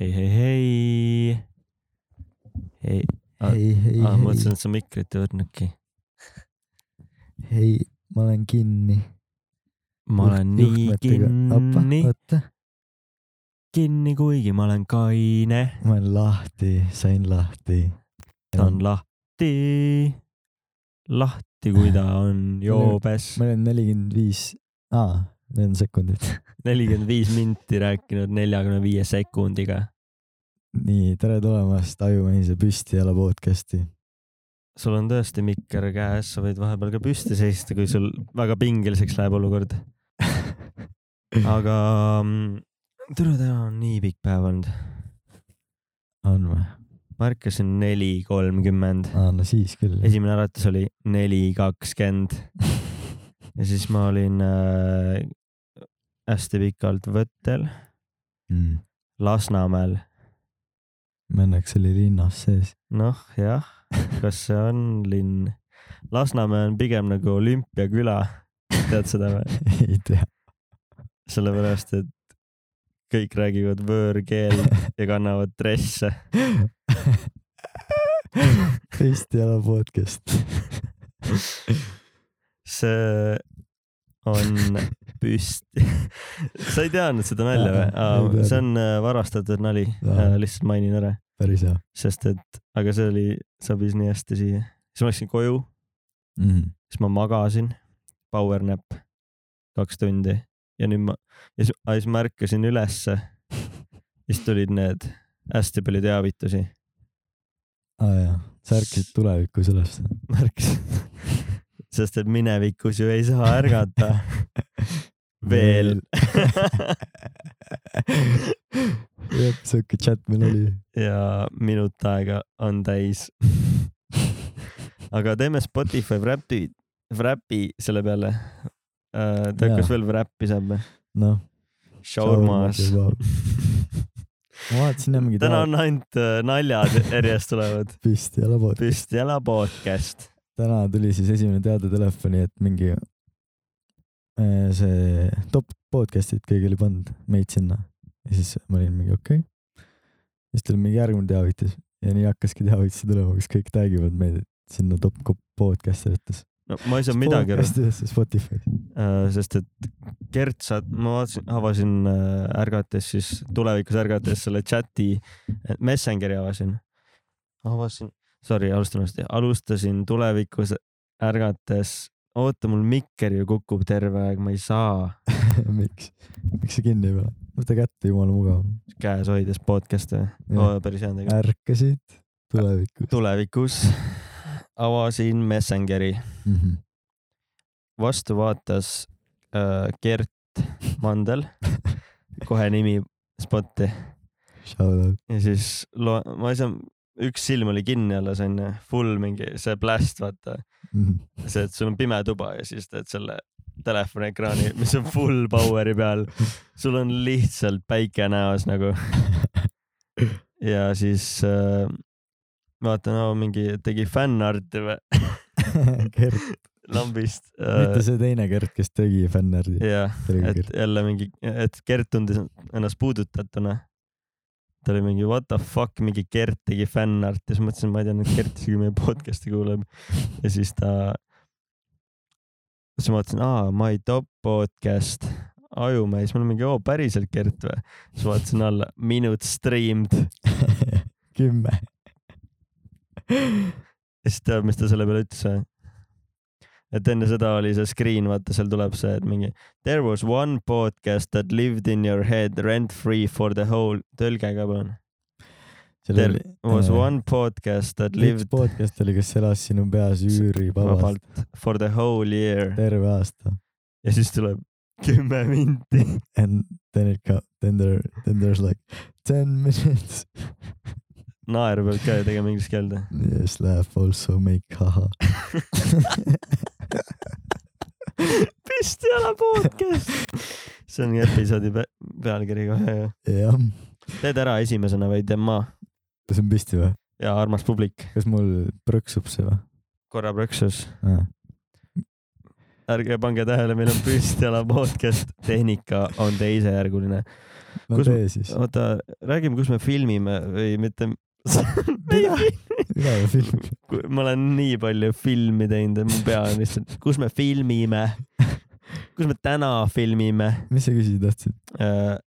hei , hei , hei . ei , Ah, hei , hei , ah, ma hei , mõtlesin , et sa mikrit ei võtnudki . hei , ma olen kinni . ma olen nii kinni , oota , kinni , kuigi ma olen kaine . ma olen lahti , sain lahti . ta on lahti , lahti , kui ta on joobes ma . olen nelikümmend viis , aa , need on sekundid . nelikümmend viis minti rääkinud neljakümne viie sekundiga . nii , tere tulemast Ajumehise Püsti jala podcasti . sul on tõesti mikker käes , sa võid vahepeal ka püsti seista , kui sul väga pingeliseks läheb olukord . aga mm, tere , täna on nii pikk päev olnud . on või ? ma ärkasin neli kolmkümmend , aa , no siis küll . esimene äratus oli neli kakskümmend ja siis ma olin äh, hästi pikalt võttel mm. . Lasnamäel . Männeks oli linnas sees . noh , jah , kas see on linn ? Lasnamäe on pigem nagu olümpiaküla , tead seda või ?? ei tea . sellepärast , et kõik räägivad võõrkeelt ja kannavad dresse . Püsti jala podcast . see on püsti . sa ei teadnud seda nalja Ei või ? teadnud. see on äh, varastatud nali , Aa. lihtsalt mainin ära , päris hea sest et , aga see oli , sobis nii hästi siia . siis ma läksin koju , mm. . siis ma magasin , power nap , kaks tundi ja nüüd ma , ja siis- aa, siis ma ärkasin ülesse . siis tulid need hästi palju teavitusi . aa ah, jaa , sa ärkasid tulevikku sellest . märkasin , sest et minevikus ju ei saa ärgata veel . jah , siuke chat meil oli . ja minut aega on täis . aga teeme Spotify Wrapi , Wrapi selle peale . tead , Jaa. kas veel Wrapi saab või ? noh . Shaurmas . ma vaatasin jah mingi täna täna on... on ainult äh, naljad järjest tulevad . püsti ja labod . püsti jala podcast . täna tuli siis esimene teade telefoni , et mingi äh, see top podcast'id keegi oli pannud meid sinna ja siis ma olin mingi okei okay. . siis tuli mingi järgmine teavitus ja nii hakkaski teavitusi tulema , kus kõik tag ivad meid et sinna top ko- podcast'i võttes . no ma ei saa midagi aru , Spotify . Äh, sest et Gert saad , ma vaatasin , avasin äh, ärgates siis , tulevikus ärgates selle chati , Messengeri avasin . avasin , sorry , alustan uuesti , alustasin tulevikus ärgates , oota mul mikker ju kukub terve aeg , ma ei saa miks , miks sa kinni ei pane ? võta kätte , jumala mugav on . käes hoides podcast'e Jah. oh, , päris hea on tegelikult . ärkasid tulevikus tulevikus avasin Messengeri , mm . -hmm. vastu vaatas äh, Gert Mandel , kohe nimi spotti . Shout out . ja siis lo- , ma ei saa , üks silm oli kinni alles onju , eh, full mingi see blast , vaata . Mhm. see , et sul on pime tuba ja siis teed selle telefoni ekraani , mis on full power'i peal . sul on lihtsalt päike näos nagu . ja siis äh, vaatan no, , mingi tegi fännarti või Gert , lambist mitte äh, . see teine Gert , kes tegi fännärdi . jah , et jälle mingi , et Gert tundis ennast puudutatuna . ta oli mingi what the fuck , mingi Gert tegi fännart ja siis mõtlesin , ma ei tea , nüüd Gert isegi meie podcast'i kuuleb . ja siis ta , siis ma vaatasin , aa , My Top Podcast , Ajumäe , siis ma olin mingi , oo , päriselt Gert või ? siis vaatasin alla , minut streamed kümme . ja siis tead , mis ta selle peale ütles või ? et enne seda oli see screen , vaata seal tuleb see , et mingi There was one podcast that lived in your head rent free for the whole , tõlge ka palun . There was one podcast that üks lived podcast oli , kes elas sinu peas üürivabalt vabalt for the whole year terve aasta . ja siis tuleb kümme minti . And then it got , then there , then there's like ten minutes . naer peab ka ju tegema inglise keelde . Yes , laugh also make haha . püsti jala podcast . see on episoodi pe pealkiri kohe ju . jah , teed ära esimesena või teen ma see on püsti või ? ja armas publik kas mul prõksub see või ? korra prõksus . ärge pange tähele , meil on püstjala podcast , tehnika on teisejärguline . no Kus ma- tee siis . oota , räägime , kus me filmime või mitte . üleval filmib . ma olen nii palju filmi teinud , et mu pea on lihtsalt , kus me filmime , kus me täna filmime , mis sa küsida tahtsid ?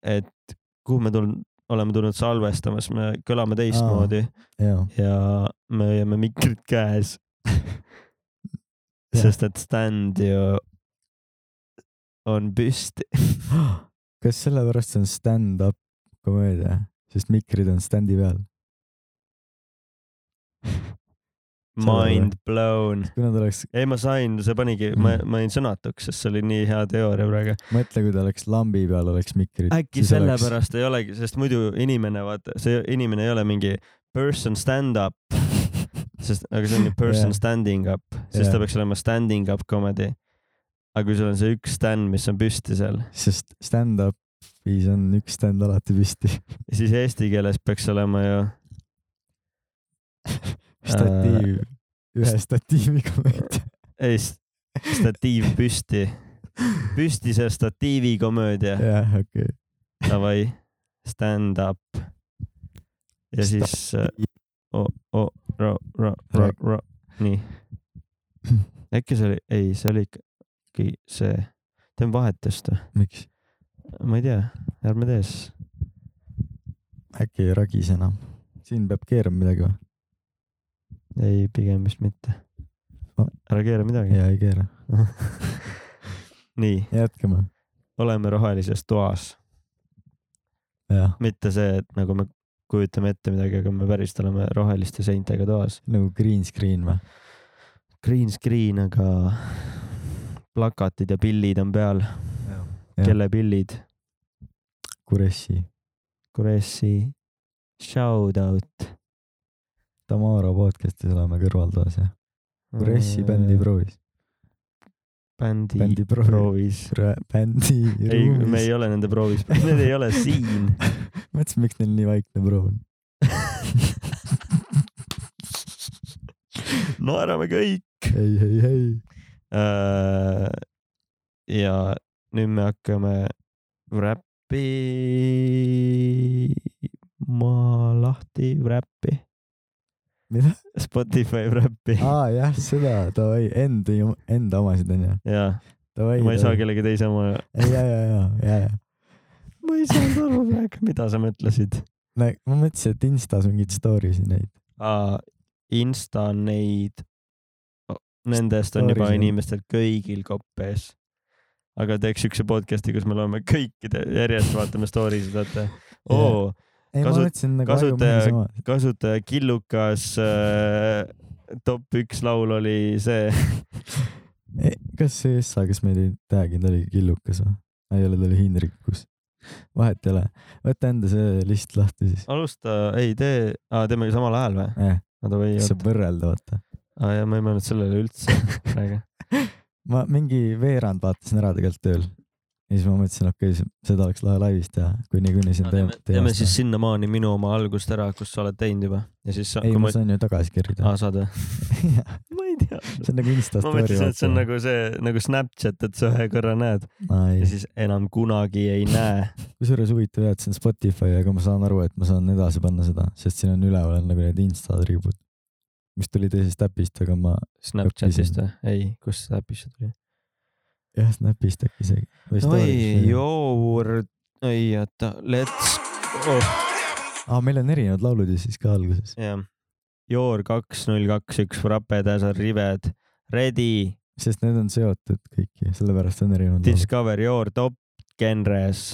et kuhu me tulnud , oleme tulnud salvestamas , me kõlame teistmoodi jaa . ja me hoiame mikrit käes . sest et stand ju on püsti . kas sellepärast see on stand-up komöödia , sest mikrid on stand'i peal ? Mind blown . kui nad oleks , ei , ma sain , see panigi , ma , ma jäin sõnatuks , sest see oli nii hea teooria praegu . mõtle , kui ta oleks lambi peal , oleks mikrid . äkki sellepärast ei olegi , sest muidu inimene , vaata , see inimene ei ole mingi person stand up , sest , aga see on ju person Jah. standing up , siis Jah. ta peaks olema standing up comedy . aga kui sul on see üks stand , mis on püsti seal , sest stand-up'is on üks stand alati püsti . siis eesti keeles peaks olema ju Äh. statiiv , ühe statiiviga mööda . ei, s- statiiv püsti , püsti see statiivi komöödia , jah , okei . davai , stand up . ja siis äh, o- , ro- , ro- , ro- , ro- , nii . äkki see oli , ei , see oli ikkagi see , teeme vahetust või ? miks ? ma ei tea , ärme tee siis . äkki ei ragis enam ? siin peab keerama midagi või ? ei , pigem vist mitte Oh. . ära keera midagi . jaa , ei keera . nii , jätkame . oleme rohelises toas , jah , mitte see , et nagu me kujutame ette midagi , aga me päriselt oleme roheliste seintega toas . nagu green screen või ? Green screen , aga plakatid ja pillid on peal . kelle pillid ? Kuressi , Kuressi shout out . Tamara podcast'is oleme kõrvaltoas Äh, ja Kuressi bändi proovis . bändi, bändi proovis . proovis . bändi ei , me ei ruumis . ole nende proovis , need ei ole siin . mõtlesin , miks neil nii vaikne proov on . naerame kõik . ei , ei , ei . Äh, ja nüüd me hakkame räppima lahti , räppi . mida ? Spotify räppi aa jah , seda , davai , enda , enda omasid onju . ja davai . ma ei saa kellegi teise oma , ei , ja , ja , ja , ja , ja . ma ei saanud aru praegu , mida sa mõtlesid . no ma mõtlesin , et Instas on mingeid story si neid . Insta neid , nendest on juba Stories, jah. inimestel kõigil kopp ees . aga teeks siukse podcast'i , kus me loeme kõikide , järjest vaatame story sid , vaata . oo , ei , ma Kasu- mõtlesin nagu kasutaja- ajumehise oma . kasutaja Killukas äh, top üks laul oli see , kas see Essa , kes meid ei tag'inud , oli Killukas või ? ei ole , ta oli Hindrikus . vahet ei ole . võta enda see list lahti siis . alusta , ei tee ah, , teeme samal ajal või ? jah , oota või , saab võrrelda , vaata . ah, ja ma ei mõelnud sellele üldse praegu . ma mingi veerand vaatasin ära tegelikult tööl . ja siis ma mõtlesin , okei okay, , seda oleks lahe laivis teha , kui niikuinii siin teeme . teeme siis . sinnamaani minu oma algust ära , kus sa oled teinud juba ja siis sa, ei , kui ma ma , saan ju tagasi kirjutada . aa saad või ? see ma ei tea . on nagu Insta ma story . mõtlesin , et see on . nagu see nagu Snapchat , et sa ühe korra näed ja siis enam kunagi ei näe . kusjuures huvitav jah , et see on Spotify , aga ma saan aru , et ma saan edasi panna seda , sest siin on üleval on nagu need insta tribud , mis tuli teisest äpist , aga ma Snapchatist või ? ei , kust see äpis tuli ? jah , Snapist äkki isegi . oi , joovurd , ei oota , let's oh. . aa , Ah, meil on erinevad laulud ju siis ka alguses . jah . Joor kaks null kaks üks Rapetäsa rived , Ready , sest need on seotud kõik ju , sellepärast on erinevad laulud . Discover Your top genres ,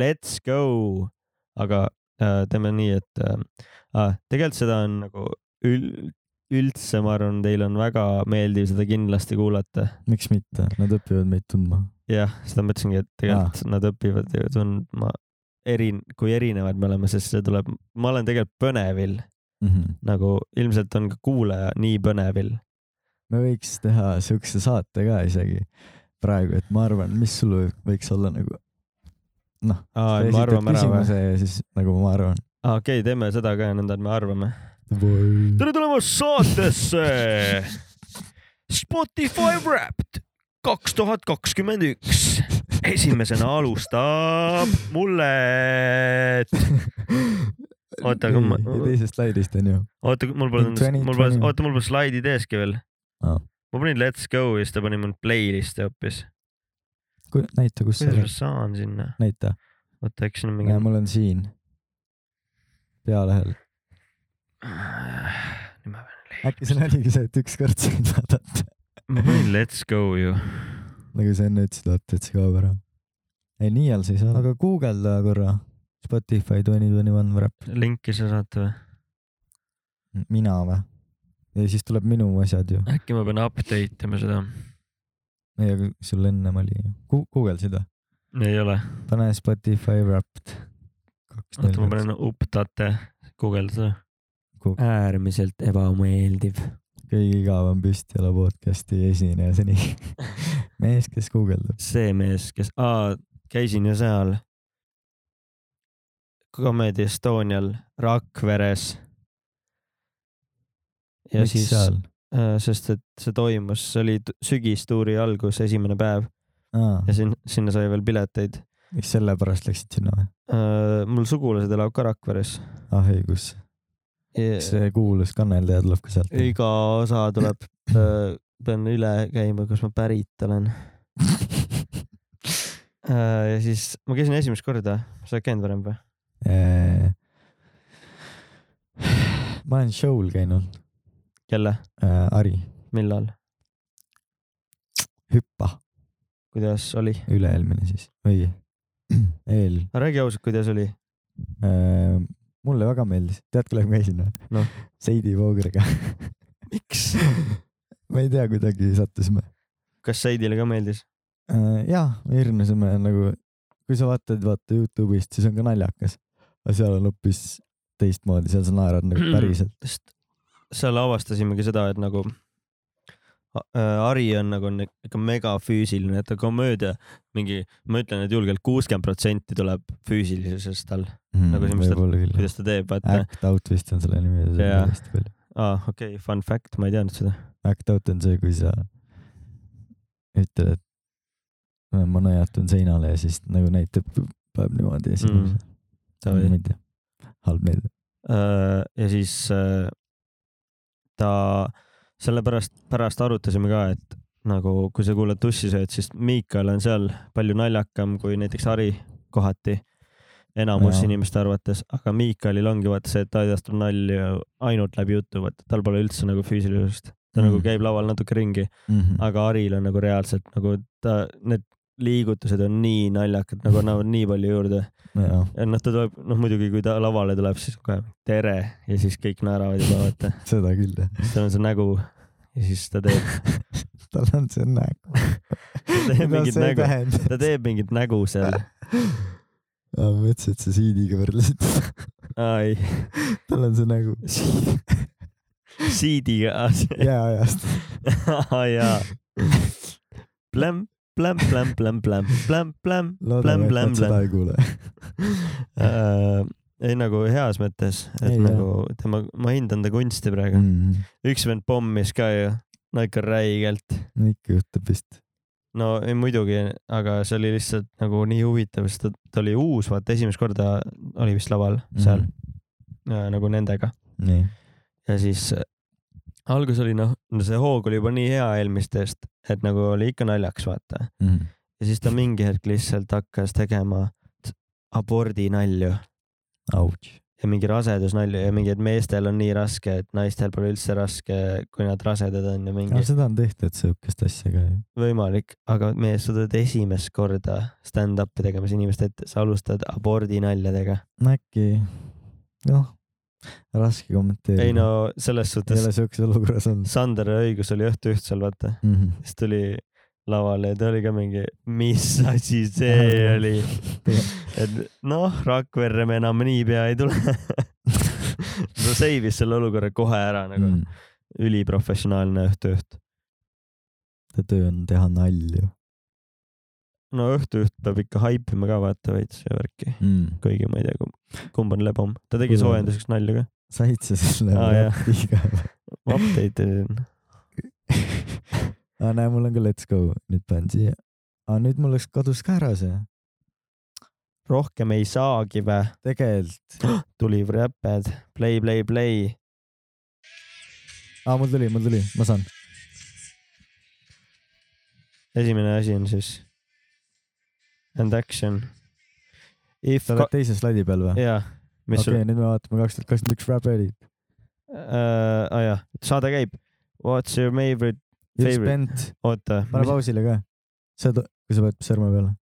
Let's go . aga äh, teeme nii , et äh, tegelikult seda on nagu ül- , üldse ma arvan , teil on väga meeldiv seda kindlasti kuulata . miks mitte , nad õpivad meid tundma . jah , seda ma ütlesingi , et tegelikult nad õpivad ju tundma erin- , kui erinevad me oleme , sest see tuleb , ma olen tegelikult põnevil , Mhm. nagu ilmselt on ka kuulaja nii põnevil . me võiks teha siukse saate ka isegi praegu , et ma arvan , mis sul võiks olla nagu . noh, aa , et me arvame ära või ? ja siis nagu ma arvan . aa , okei okay, , teeme seda ka ja nõnda , et me arvame . tere tulemast saatesse Spotify Wrapped , kaks tuhat kakskümmend üks . esimesena alustab mullet . Oota, aga ma- teisest slaidist on ju . oota , mul pole In , twenty- mul pole , twenty- oota , mul pole slaidid eeski veel Aa. ah. . ma panin Let's go ja siis ta pani mul playlist'i hoopis . näita , kus see kuidas ma on . saan sinna ? näita . oota , eks siin on mingi näe ,. mul on siin . pealehel . Ah, nüüd ma pean leidma . äkki seal oligi see , et ükskord said vaadata . ma panin Let's go ju . nagu sa enne ütlesid , vaata , et see kaob ära . ei , nii all sa ei saa . aga guugelda korra . Spotify Twenty Twenty One Wrap . linki sa saate või ? mina või ? ja siis tuleb minu asjad ju . äkki ma pean update ima seda ? ei , aga sul ennem oli ju . guugeldasid või ? ei ole . pane Spotify Wrapped . oota , ma panen update , guugeldada . Guug- äärmiselt ebameeldiv . kõige igavam Püstjala podcasti esineja seni . mees , kes guugeldab . see mees , kes , aa , käisin ju seal . Comedy Estonial Rakveres . ja Miks miks siis , seal ? sest et see toimus , see oli t- sügistuuri algus , esimene päev aa , ja sin- , sinna sai veel pileteid . miks sellepärast läksid sinna või ? mul sugulased elavad ka Rakveres . ah ei , kus ? see kuulus kaneldaja tuleb ka sealt . iga osa tuleb , pean üle käima , kus ma pärit olen . ja siis ma käisin esimest korda , sa oled käinud varem või ? Eh, ma olen show'l käinud jälle , äh, , Ari , millal , hüppa , kuidas oli ? üle-eelmine siis või eel räägi ausalt , kuidas oli ? äh, . mulle väga meeldis , tead , kellega ma käisin või Noh. ? Seidi Voogriga . miks ? ma ei tea , kuidagi sattusime kas Seidile ka meeldis ? äh, . jaa , me hirmusime nagu , kui sa vaatad , vaata Youtube'ist , siis on ka naljakas , aga seal on hoopis teistmoodi , seal sa naerad nagu päriselt . sest seal avastasimegi seda , et nagu A- äh, Ari on nagu on ikka mega füüsiline , et ta komöödia mingi , ma ütlen , et julgelt kuuskümmend protsenti tuleb füüsilisusest tal , Nagu siin vist- Hmm, võib-olla küll . kuidas ta teeb , vaata . Act Out vist on selle nimi , see Jaa. on hästi palju . aa , okei okay, , fun fact , ma ei teadnud seda . Act out on see , kui sa ütled , et ma nõjatun seinale ja siis nagu näitab , paneb niimoodi ja siis Mm. mm. Davai. ma ei tea , halb meelde . Äh, ja siis äh, ta , sellepärast pärast arutasime ka , et nagu kui sa kuulad tussisööd , siis Miikal on seal palju naljakam kui näiteks Ari kohati enamus Jaa. ja. inimeste arvates , aga Miikalil ongi vaata see , et ta edastab nalju ainult läbi jutu , vaata tal pole üldse nagu füüsilisust . ta mm. nagu käib laval natuke ringi , mm . -hmm. aga Aril on nagu reaalselt nagu ta , need liigutused on nii naljakad , nagu annavad nii palju juurde . Aga... Ja noh , ta tuleb , noh muidugi , kui ta lavale tuleb , siis kohe tere ja siis kõik naeravad juba vaata , seda küll jah . siis tal on see nägu ja siis ta teeb , tal on see nägu . ta teeb mingit nägu , tähendab ? ta teeb mingit nägu seal . ma mõtlesin , et sa siidiga võrdlesid . ai , tal on see nägu . siidiga , jääajast . jaa . plämm , plämm , plämm , plämm , plämm , plämm , plämm , plämm , loodame , et plämm , nad seda plämm . ei kuule . Äh. ei nagu heas mõttes , et Ei, ei, nagu tema , ma hindan ta kunsti praegu . Mm-hmm. üks vend pommis ka ju , no ikka räigelt . ikka juhtub vist . no ei, muidugi , aga see oli lihtsalt nagu nii huvitav , sest ta, ta oli uus , vaata esimest korda oli vist laval Mhm. seal mm. . nagu nendega Mm-hmm. nii . ja siis äh, algus oli noh , no see hoog oli juba nii hea eelmistest , et nagu oli ikka naljakas vaata . Mm-hmm. ja siis ta mingi hetk lihtsalt hakkas tegema t- abordinalju Ouch . ja mingi rasedusnalju ja mingi , et meestel on nii raske , et naistel pole üldse raske , kui nad rasedad on ja mingi no seda on tehtud siukest asja ka ju . võimalik , aga mees , sa tuled esimest korda stand-up'i tegemas inimeste ette , sa alustad abordinaljadega . no äkki , noh , raske kommenteerida . ei no selles ei suhtes , ole siukses olukorras olnud Sander Õigus oli õhtu ühtsel , vaata , mm . -hmm. siis tuli lavale ja ta oli ka mingi , mis asi see oli , et noh , Rakverre me enam niipea ei tule . ta seivis selle olukorra kohe ära nagu mm. , üliprofessionaalne õhtujuht . ta töö on teha nalju no õhtujuht peab ikka haipima ka vaata veits ja värki , mm. . kuigi ma ei tea , kumb on lebam , ta tegi soojenduseks nalja ka . said sa selle Aa, jah. rapiga ? update isin . aa näe , mul on ka Let's Go nüüd panen siia . aa nüüd mul läks , kadus ka ära see . rohkem ei saagi vä ? tegelikult , tuli räped , play , play , play . aa mul tuli , mul tuli , ma saan . esimene asi on siis and action . If sa oled teise slaidi peal või ? jaa , mis sul okei , nüüd me vaatame kaks tuhat kakskümmend üks Rapperit . äh, , aa jaa , saade käib . What's your favorite , You Favorite. spent , oota , pane pausile ka . sa , kui sa paned sõrme peale .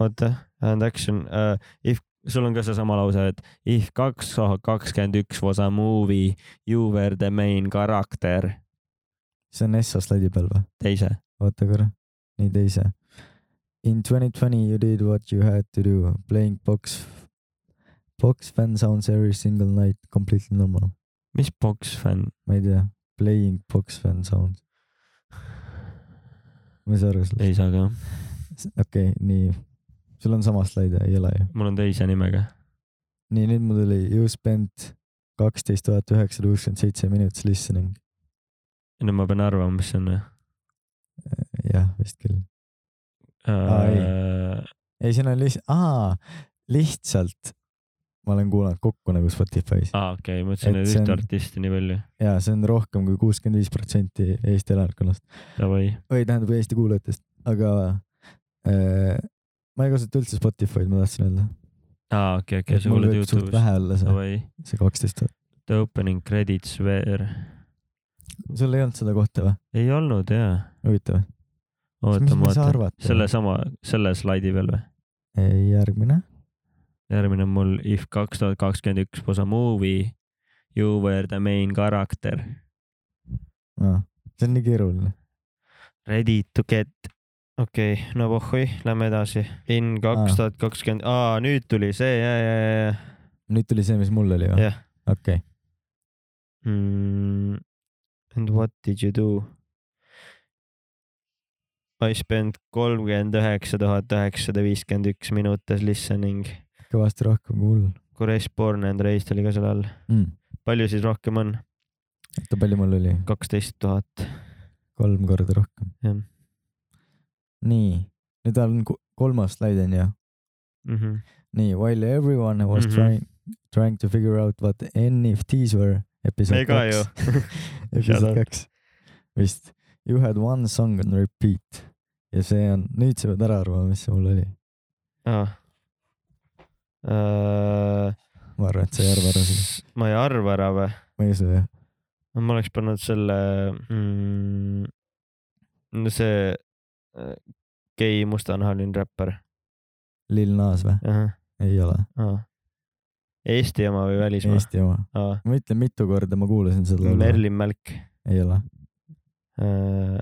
oota , and action uh, . If , sul on ka seesama lause , et if kaks tuhat kakskümmend üks was a movie , you were the main character . see on Essa slaidi peal või ? teise , oota korra , nii teise . In 2020 you did what you had to do , playing box , box fan sounds every single night , completely normal . mis boks fänn ? ma ei tea , playing box fan sounds , ma ei saa aru sellest . ei saa ka , okei okay, , nii , sul on sama slaid , ei ole ju . mul on teise nimega . nii , nüüd mul tuli you spent kaksteist tuhat üheksasada kuuskümmend seitse minutes listening . nüüd ma pean arvama , mis see on või jah , vist küll . Aa, ei. uh, ? ei , siin on lihtsalt , aa , lihtsalt ma olen kuulanud kokku nagu Spotify's aa , okei , ma mõtlesin , Et et see ühte on- artisti nii palju . ja see on rohkem kui kuuskümmend viis protsenti Eesti elanikkonnast Davai , või tähendab Eesti kuulajatest , aga äh, ma ei kasuta üldse Spotify'd , ma tahtsin öelda . aa , okei , okei , sa kuuled Youtube'is . vähe olla see , Davai , see kaksteist tuhat . the opening credits were . sul ei olnud seda kohta või ? ei olnud jaa . huvitav . oota , mis ma ma ei saa vaatan . arvata ? sellesama , selle slaidi peal või ? järgmine . järgmine on mul If kaks tuhat kakskümmend üks was a movie , you were the main character . see on nii keeruline . Ready to get . okei okay, , no pohhui , lähme edasi . In kaks tuhat kakskümmend , aa nüüd tuli see , jaa , jaa , jaa , nüüd tuli see , mis mul oli jaa , või ? jah . okei . Mm, and what did you do ? I spent kolmkümmend üheksa tuhat üheksasada viiskümmend üks minutit listening . kõvasti rohkem kui mul Kures Born and Raised oli ka seal all . mm. . palju siis rohkem on ? oota , palju mul oli ? kaksteist tuhat . kolm korda rohkem . Jah. nii , nüüd on ku- kolmas slaid on ju nii , while everyone was Mhm. mm -hmm. trying trying to figure out what NFTs me were , episood ka ju kaks , episood Shut up. kaks vist . You had one song on repeat ja see on , nüüd sa pead ära arvama , mis see mul oli . ah. . Uh, ma arvan , et sa ei arva ära seda , ma ei arva ära või ? ma ei usu jah . ma oleks pannud selle mm, , no see äh, gei mustanahaline räppar Lil Nas või ? uh . -huh. ei ole , Ah. Eesti oma E-, või välismaa ? Eesti oma . Ah. ma ütlen mitu korda , ma kuulasin seda laulu . Merlin Mälk ei ole , äh, ,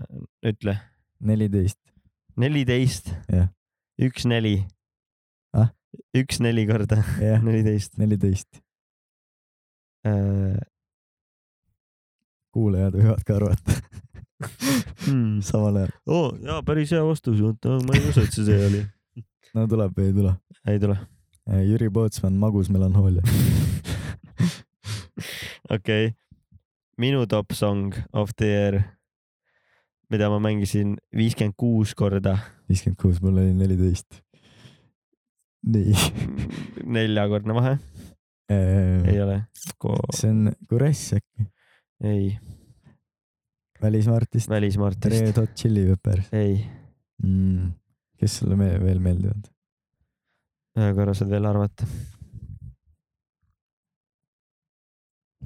ütle . neliteist . neliteist Jah. . üks neli Ah? . üks neli korda , jah , neliteist neliteist . äh, . kuulajad võivad ka arvata Mm. samal ajal . oo oh, , jaa , päris hea vastus , oota , ma ei usu , et see see oli . no tuleb või ei tule ? ei tule . Jüri Pootsman , Magus melanhoolia . okei okay. , minu top song of the year , mida ma mängisin viiskümmend kuus korda , viiskümmend kuus , mul oli neliteist . nii . neljakordne vahe , ei ole . Ehm, see on Kuress äkki , ei , välismaa artist , välismaa artist , Red Hot Chili Peppers ei , mm. . kes sulle me veel meeldivad ? ühe korra saad veel arvata .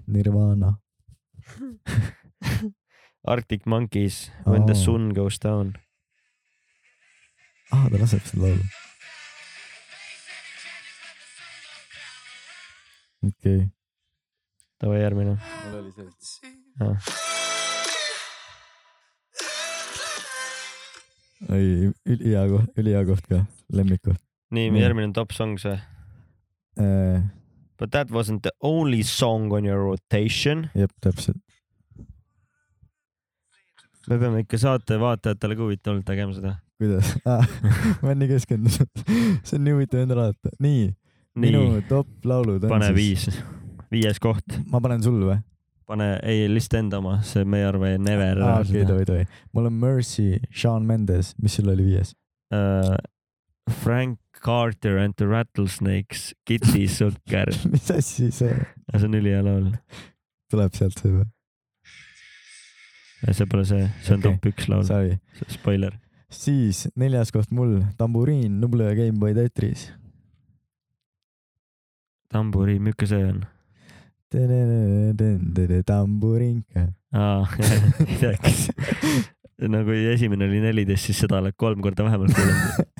Nirvana , Arctic Monkeys , When the Aa. sun goes down . ah ta laseb seda laulu . okei okay. , davai , järgmine . Ah. ei ülihea koht , ülihea koht ka , lemmikkoht nii , Nii. järgmine on top songs või ? äh, . But that wasn't the only song on your rotation . jep , täpselt , me peame ikka saate vaatajatele ka huvitavalt tegema seda . kuidas ah, , ma olen nii keskendunud , see on nii huvitav endale vaadata , nii nii minu top laulud on pane siis , viis , viies koht . ma panen sul või ? pane , ei lihtsalt enda oma , see me ei arva ei never aa ära okei , tohi , tohi . mul on Mercy , Sean Mendes , mis sul oli viies ? uh, . Frank Carter and the Rattlesnakes , Kitty Sukker , mis asi see , see on ülihea laul . tuleb sealt see või ? see pole see , see on Okei. okay. top üks laul , Sorry . spoiler . siis neljas koht mul , tamburiin , Nublu ja Gameboy Tetris . tamburiin , milline see on ? tamburiinka . aa , ei tea , kas no kui esimene oli neliteist , siis seda oled kolm korda vähemalt kuulanud .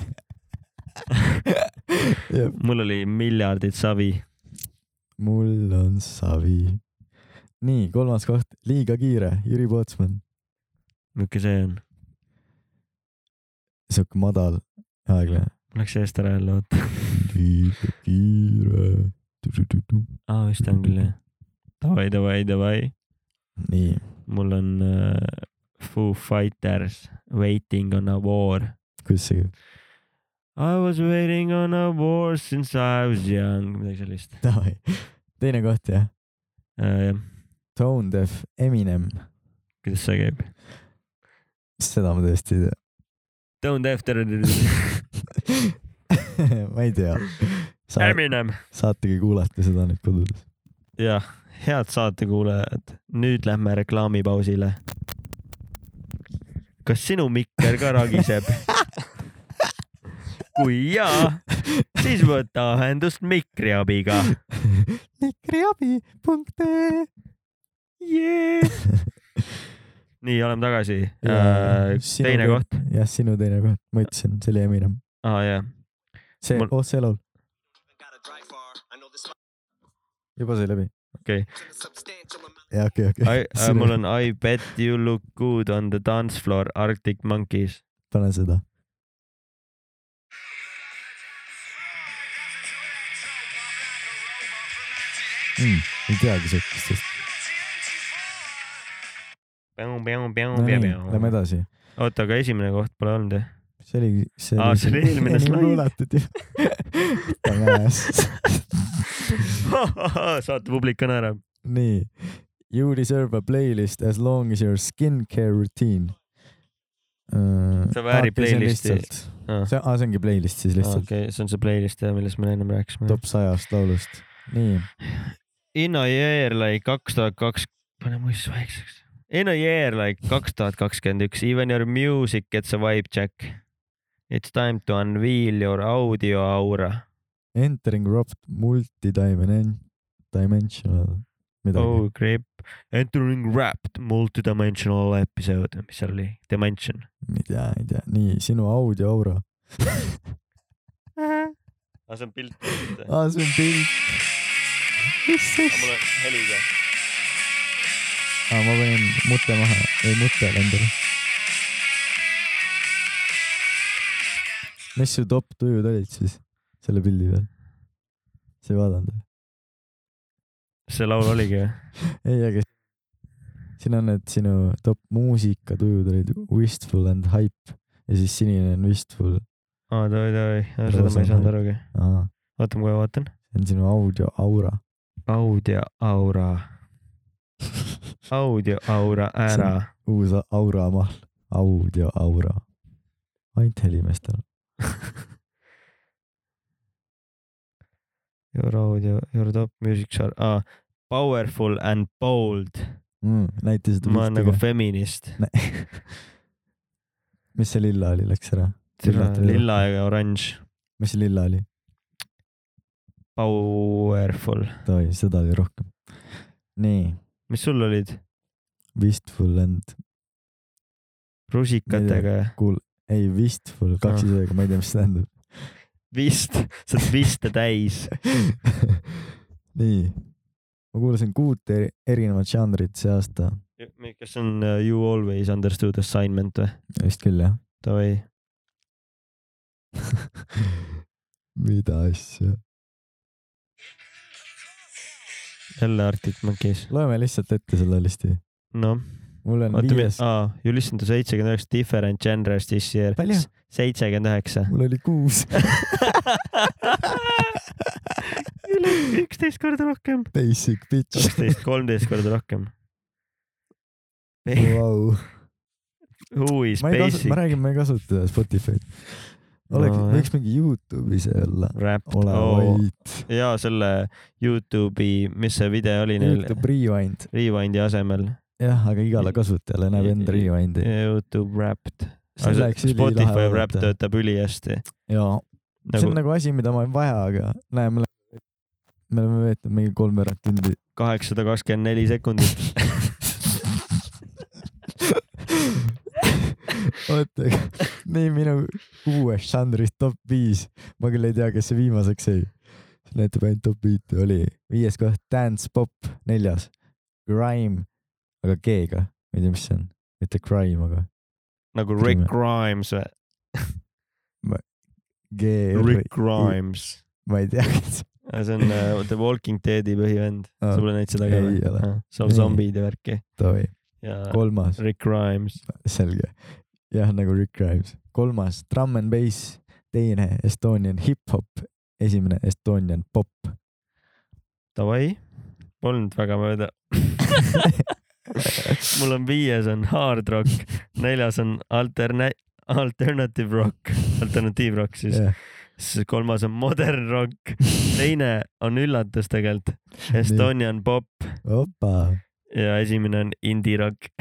jah , mul oli miljardid savi , mul on savi . nii , kolmas koht , liiga kiire , Jüri Pootsman . milline see on ? sihuke madal , aeglane . Läks eest ära jälle , oota . liiga kiire . aa , vist on küll jah . Davai , davai , davai . nii , mul on äh, Foo Fighters Waiting on a war . kuidas see käib ? I was waiting on a war since I was young , midagi sellist Davai , teine koht jah , äh, . jah , Tone Deaf , Eminem , kuidas see käib ? seda ma tõesti ei Don't after tea . ma ei tea . Eminem . saategi kuulata seda nüüd kodudes . jah , head saatekuulajad , nüüd lähme reklaamipausile . kas sinu mikker ka ragiseb ? kui jaa , siis võta ühendust mikri abiga mikriabi.ee yeah. . nii , oleme tagasi Jaa, yeah, . sinu Äh, teine kord. koht . Ah, jah , sinu teine koht , ma ütlesin , see oli Eminem . aa jah , see Mul- Mul... , oh see laul , juba sai läbi . okei . jaa , okei , okei . äh, mul on I bet you look good on the dance floor Arctic Monkeys . pane seda . Mm, ei teagi siukestest . no nii , lähme oota , edasi . aga esimene koht pole olnud jah ? see oli , see Aa, see oli eelmine slaid. kuulatud ju . pane ajas . saate publik ka naerab . nii . You deserve a playlist as long as your skincare routine uh, . See väärib playlisti. . see , aa , see ongi playlist siis lihtsalt okay. . okei , see on see playlist jah , millest me ennem rääkisime . top sajast laulust . nii , In a year like kaks tuhat kaks , pane muist vaikseks . In a year like kaks tuhat kakskümmend üks , even your music gets a vibe check . It's time to unveil your audio aura . Entering Robbed Multidimension , Dimensional , midagi oh. . Oh crap , entering wrapped multidimensional episode , mis seal oli , dimension . ei tea , ei tea , nii sinu audio aura . aga Ah, see on pilt . Ah, aa , see on pilt . mis asja ? on heliga . aa , Ah, ma panin mute maha , ei mute endale . mis su top tujud olid siis selle pildi peal ? sa ei vaadanud või ? see laul oligi või ? ei , aga siin on need sinu top muusikatujud olid Wistful and Hype ja siis sinine on Wistful . aa , davai , davai , seda ma ei saanud arugi . aa , oota , ma kohe vaatan . see on sinu audio aura . audio aura , audio aura ära . uus a- aura mahl , audio aura . ainult helimeestel . Your audio , your top music are ah, powerful and bold . mm, . näita seda ma olen nagu pilti feminist . ka . nagu- mis see lilla oli , läks ära ? lilla ja oranž , mis see lilla oli ? powerful . oi , seda oli rohkem . nii , mis sul olid ? Wistful and , rusikatega ja ei Wistful , kaks Ah. isega , ma ei tea , mis see tähendab . vist , sa oled viste täis . nii , ma kuulasin kuut eri- erinevat žanrit see aasta , kas see on uh, You always understood assignment või ? vist küll jah . Davai , mida asja ? jälle Arctic Monkeys . loeme lihtsalt ette selle listi . noh , mul on oota , viies , aa , You listen to seitsekümmend üheksa different genres this year Palju? . seitsekümmend üheksa . mul oli kuus , üle üksteist korda rohkem . basic bitch . kaksteist , kolmteist korda rohkem . Vau. Who is ma ei kasu- , basic ma räägin , ma ei kasuta Spotify'd . No, oleks no, , jah. võiks mingi Youtube'i see olla . rap ole oh. vait . ja selle Youtube'i , mis see video oli neil Youtube Rewind . Rewind'i asemel , jah , aga igale kasutajale näeb enda Rewind'i . Youtube Wrapped . see läks Spotify ülilahe Wrap vaadata. töötab ülihästi . jaa , see on nagu nagu asi , mida ma ei vaja , aga näe , me oleme , me oleme veetnud mingi kolmveerand tundi . kaheksasada kakskümmend neli sekundit . oota , nii minu uuest žanrist top viis , ma küll ei tea , kes see viimaseks jäi . näitab ainult top viite , oli viies koht Dance Pop , neljas Grime , aga G-ga , ma ei tea , mis see on , mitte Crime , aga nagu Rick Ütleme- Grimes või ? G . Rick Grimes . ma ei tea , kes see on äh, The Walking Deadi põhivend . Aa, sa pole näinud seda ka ei või ole. ? seal Ei. zombid ja värki ta oli , ja kolmas , Rick Grimes . selge . jah , nagu Rick Grimes , kolmas Drum and Bass , teine Estonian hip-hop , esimene Estonian pop . Davai , polnud väga mööda . mul on viies on hard rock , neljas on alterne- , alternative rock , alternatiivrock siis yeah. , siis kolmas on modern rock , teine on üllatus tegelikult , Estonian pop opa , ja esimene on indie rock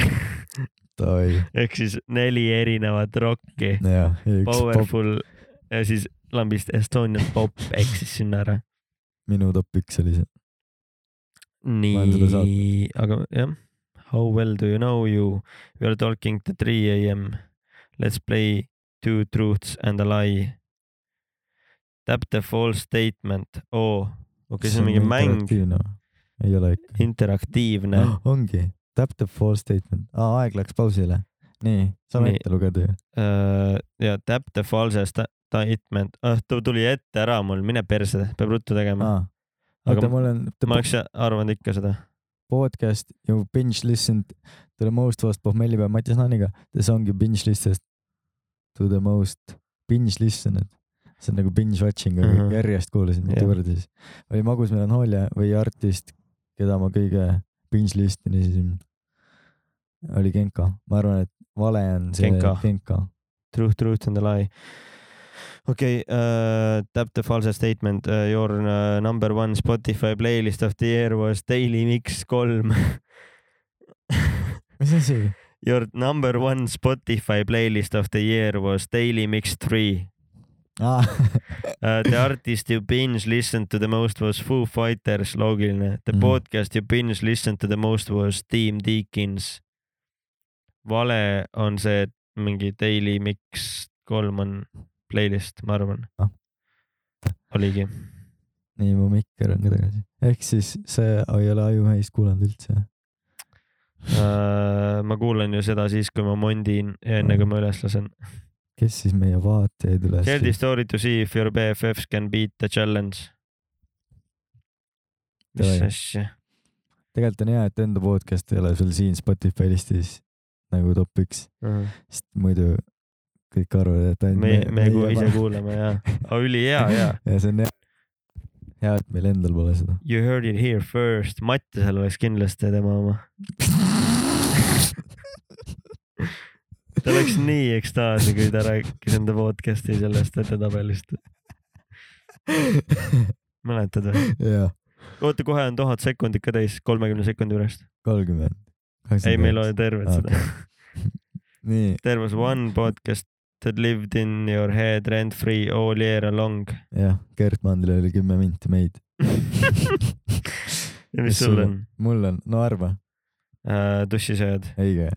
oi , ehk siis neli erinevat rocki , jah , üks pop , powerful ja siis lambist Estonian pop eksis sinna ära . minu top üks oli see . olen seda nii , aga jah . How well do you know you ? We are talking to three am . Let's play two truths and a lie . Tap the false statement . oo , okei , see on mingi mäng , ei ole ikka , interaktiivne . ongi , tap the fall statement , aeg läks pausile . nii , saame Nii. ette lugeda ju . Äh, ja tap the false sta- statement , ah too tuli ette ära mul , mine perse , peab ruttu tegema . oota , aga ma ma olen ma oleks arvanud ikka seda . podcast you binge listened to the most was pohmellipäev Mattias Naaniga . The song you binge listened to the most , binge listened . see on nagu binge watching , aga Mhm. järjest kuulasin mitu Jah. korda siis . oli magus melanhoolia või artist , keda ma kõige binge listen isin , oli Genka . ma arvan , et vale on see Genka. Genka . Truth, truth and a lie . okei okay, uh, , tap the false statement uh, , your uh, number one Spotify playlist of the year was Daily Mix kolm . mis asi ? Your number one Spotify playlist of the year was Daily Mix three aa , uh, . The artist you binge listened to the most was Foo Fighters , loogiline . The Mhm. podcast you binge listened to the most was Team Deakins . vale on see , et mingi Daily Mix kolm on playlist , ma arvan Ah. . oligi . nii mu mikker on ka tagasi . ehk siis see ei ole ajuhäis kuulanud üldse . Uh, ma kuulan ju seda siis , kui ma mondin ja enne kui ma üles lasen . kes siis meie vaatajaid üles Healthy story to see if your BFFs can beat the challenge . mis Davai. asja ? tegelikult on hea , et enda podcast ei ole sul siin Spotify listis nagu top üks , sest muidu kõik arvavad , et ainult me , me ku- ise paneme. kuulame ja , ülihea ja . ja see on hea , hea , et meil endal pole seda . You heard it here first , Mattiasel oleks kindlasti tema oma . ta oleks nii ekstaasi , kui ta rääkis enda podcast'i sellest edetabelist . mäletad või ? jaa , oota , kohe on tuhat sekundit ka täis , kolmekümne sekundi pärast . kolmkümmend . ei , meil oli terved seda . nii , There was one podcast that lived in your head rent free all year long . jah , Gerd Mandril oli kümme minti meid . ja mis sul on ? Äh, mul on , no arva , tussisööd ? õige .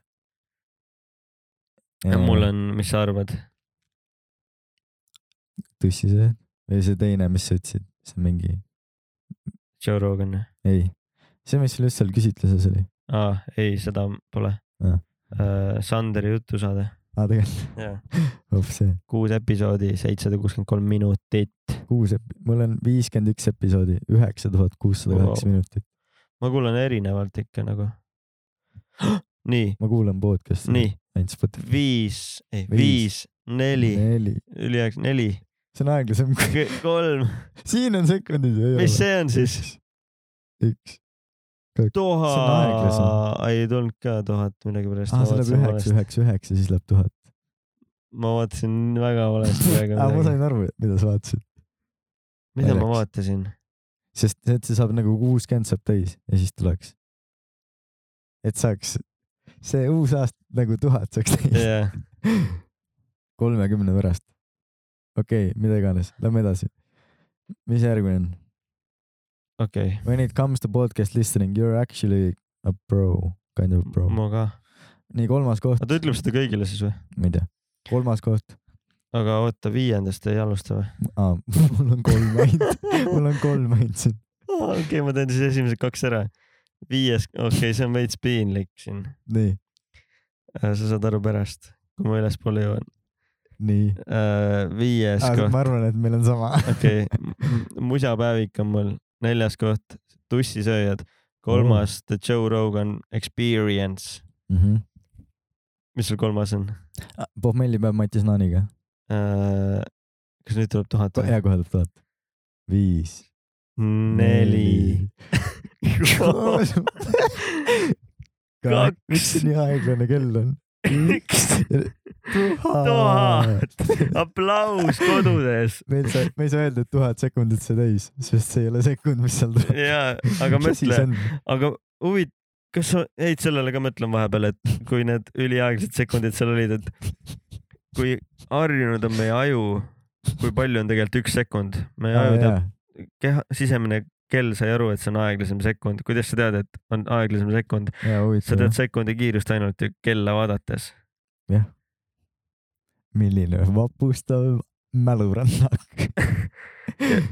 mul on , mis sa arvad ? tussi see või see teine , mis sa ütlesid , see on mingi , Joe Rogan ? ei , see , mis sul just seal küsitluses oli . aa , ei , seda pole Äh, Aa. . Sanderi jutusaade . aa , Ah, tegelikult , oh see , kuus episoodi , seitsesada kuuskümmend kolm minutit . kuus , mul on viiskümmend üks episoodi , üheksa tuhat kuussada kaheksa Wow. minutit . ma kuulan erinevalt ikka nagu . nii , ma kuulan podcast'i . nii , ainult Spotify . viis , ei , Viis. viis , neli , neli . üli- , neli , see on aeglasem kui , kolm , siin on sekundid . mis see on siis ?? üks , kogu aeg . See on tuha , aeglasem. ei tulnud ka tuhat millegipärast . aa , Ah, see läheb üheks , üheks , üheks ja siis läheb tuhat . ma vaatasin väga valesti praegu aa , ma midagi . sain aru , mida sa vaatasid . mida ma naljaks. vaatasin ? sest et see saab nagu kuuskümmend saab täis ja siis tuleks . et saaks , see uus aasta nagu tuhat saaks täis jah , kolmekümne pärast . okei okay, , mida iganes , lähme edasi . mis järgmine on ? okei , When it comes to podcast listening , you are actually a pro , kind of a pro . ma ka . nii , kolmas koht , aga ta ütleb seda kõigile siis või ? ma ei tea , kolmas koht . aga oota , viiendast ei alusta või ? aa , mul on kolm ainult , mul on kolm ainult siin . okei , ma teen siis esimesed kaks ära . viies , okei okay, , see on veits piinlik siin . nii , sa saad aru pärast , kui ma ülespoole jõuan . nii . viies koht , ma arvan , et meil on sama . okei , musapäevik on mul , neljas koht , tussisööjad , kolmas The Joe Rogan Experience , Mhm. mis sul kolmas on ? Bob Melli Ah, peab Matis Naaniga . Äh, kas nüüd tuleb tuhat või ? hea kohe tuleb tuhat . viis . neli . kaks . miks see nii aeglane kell on ? üks , tuhat . aplaus kodudes me ei saa , me ei saa öelda , et tuhat sekundit sai täis , sest see ei ole sekund , mis seal tuleb . ja , aga mõtle ,. aga huvit- , kas sa jäid sellele ka mõtlema vahepeal , et kui need üliaeglased sekundid seal olid , et kui harjunud on meie aju , kui palju on tegelikult üks sekund , meie aju teab , keha , sisemine kell sai aru , et see on aeglasem sekund , kuidas sa tead , et on aeglasem sekund , jaa , sa tead huvitav . sekundi kiirust ainult ju kella vaadates . milline vapustav mälurännak .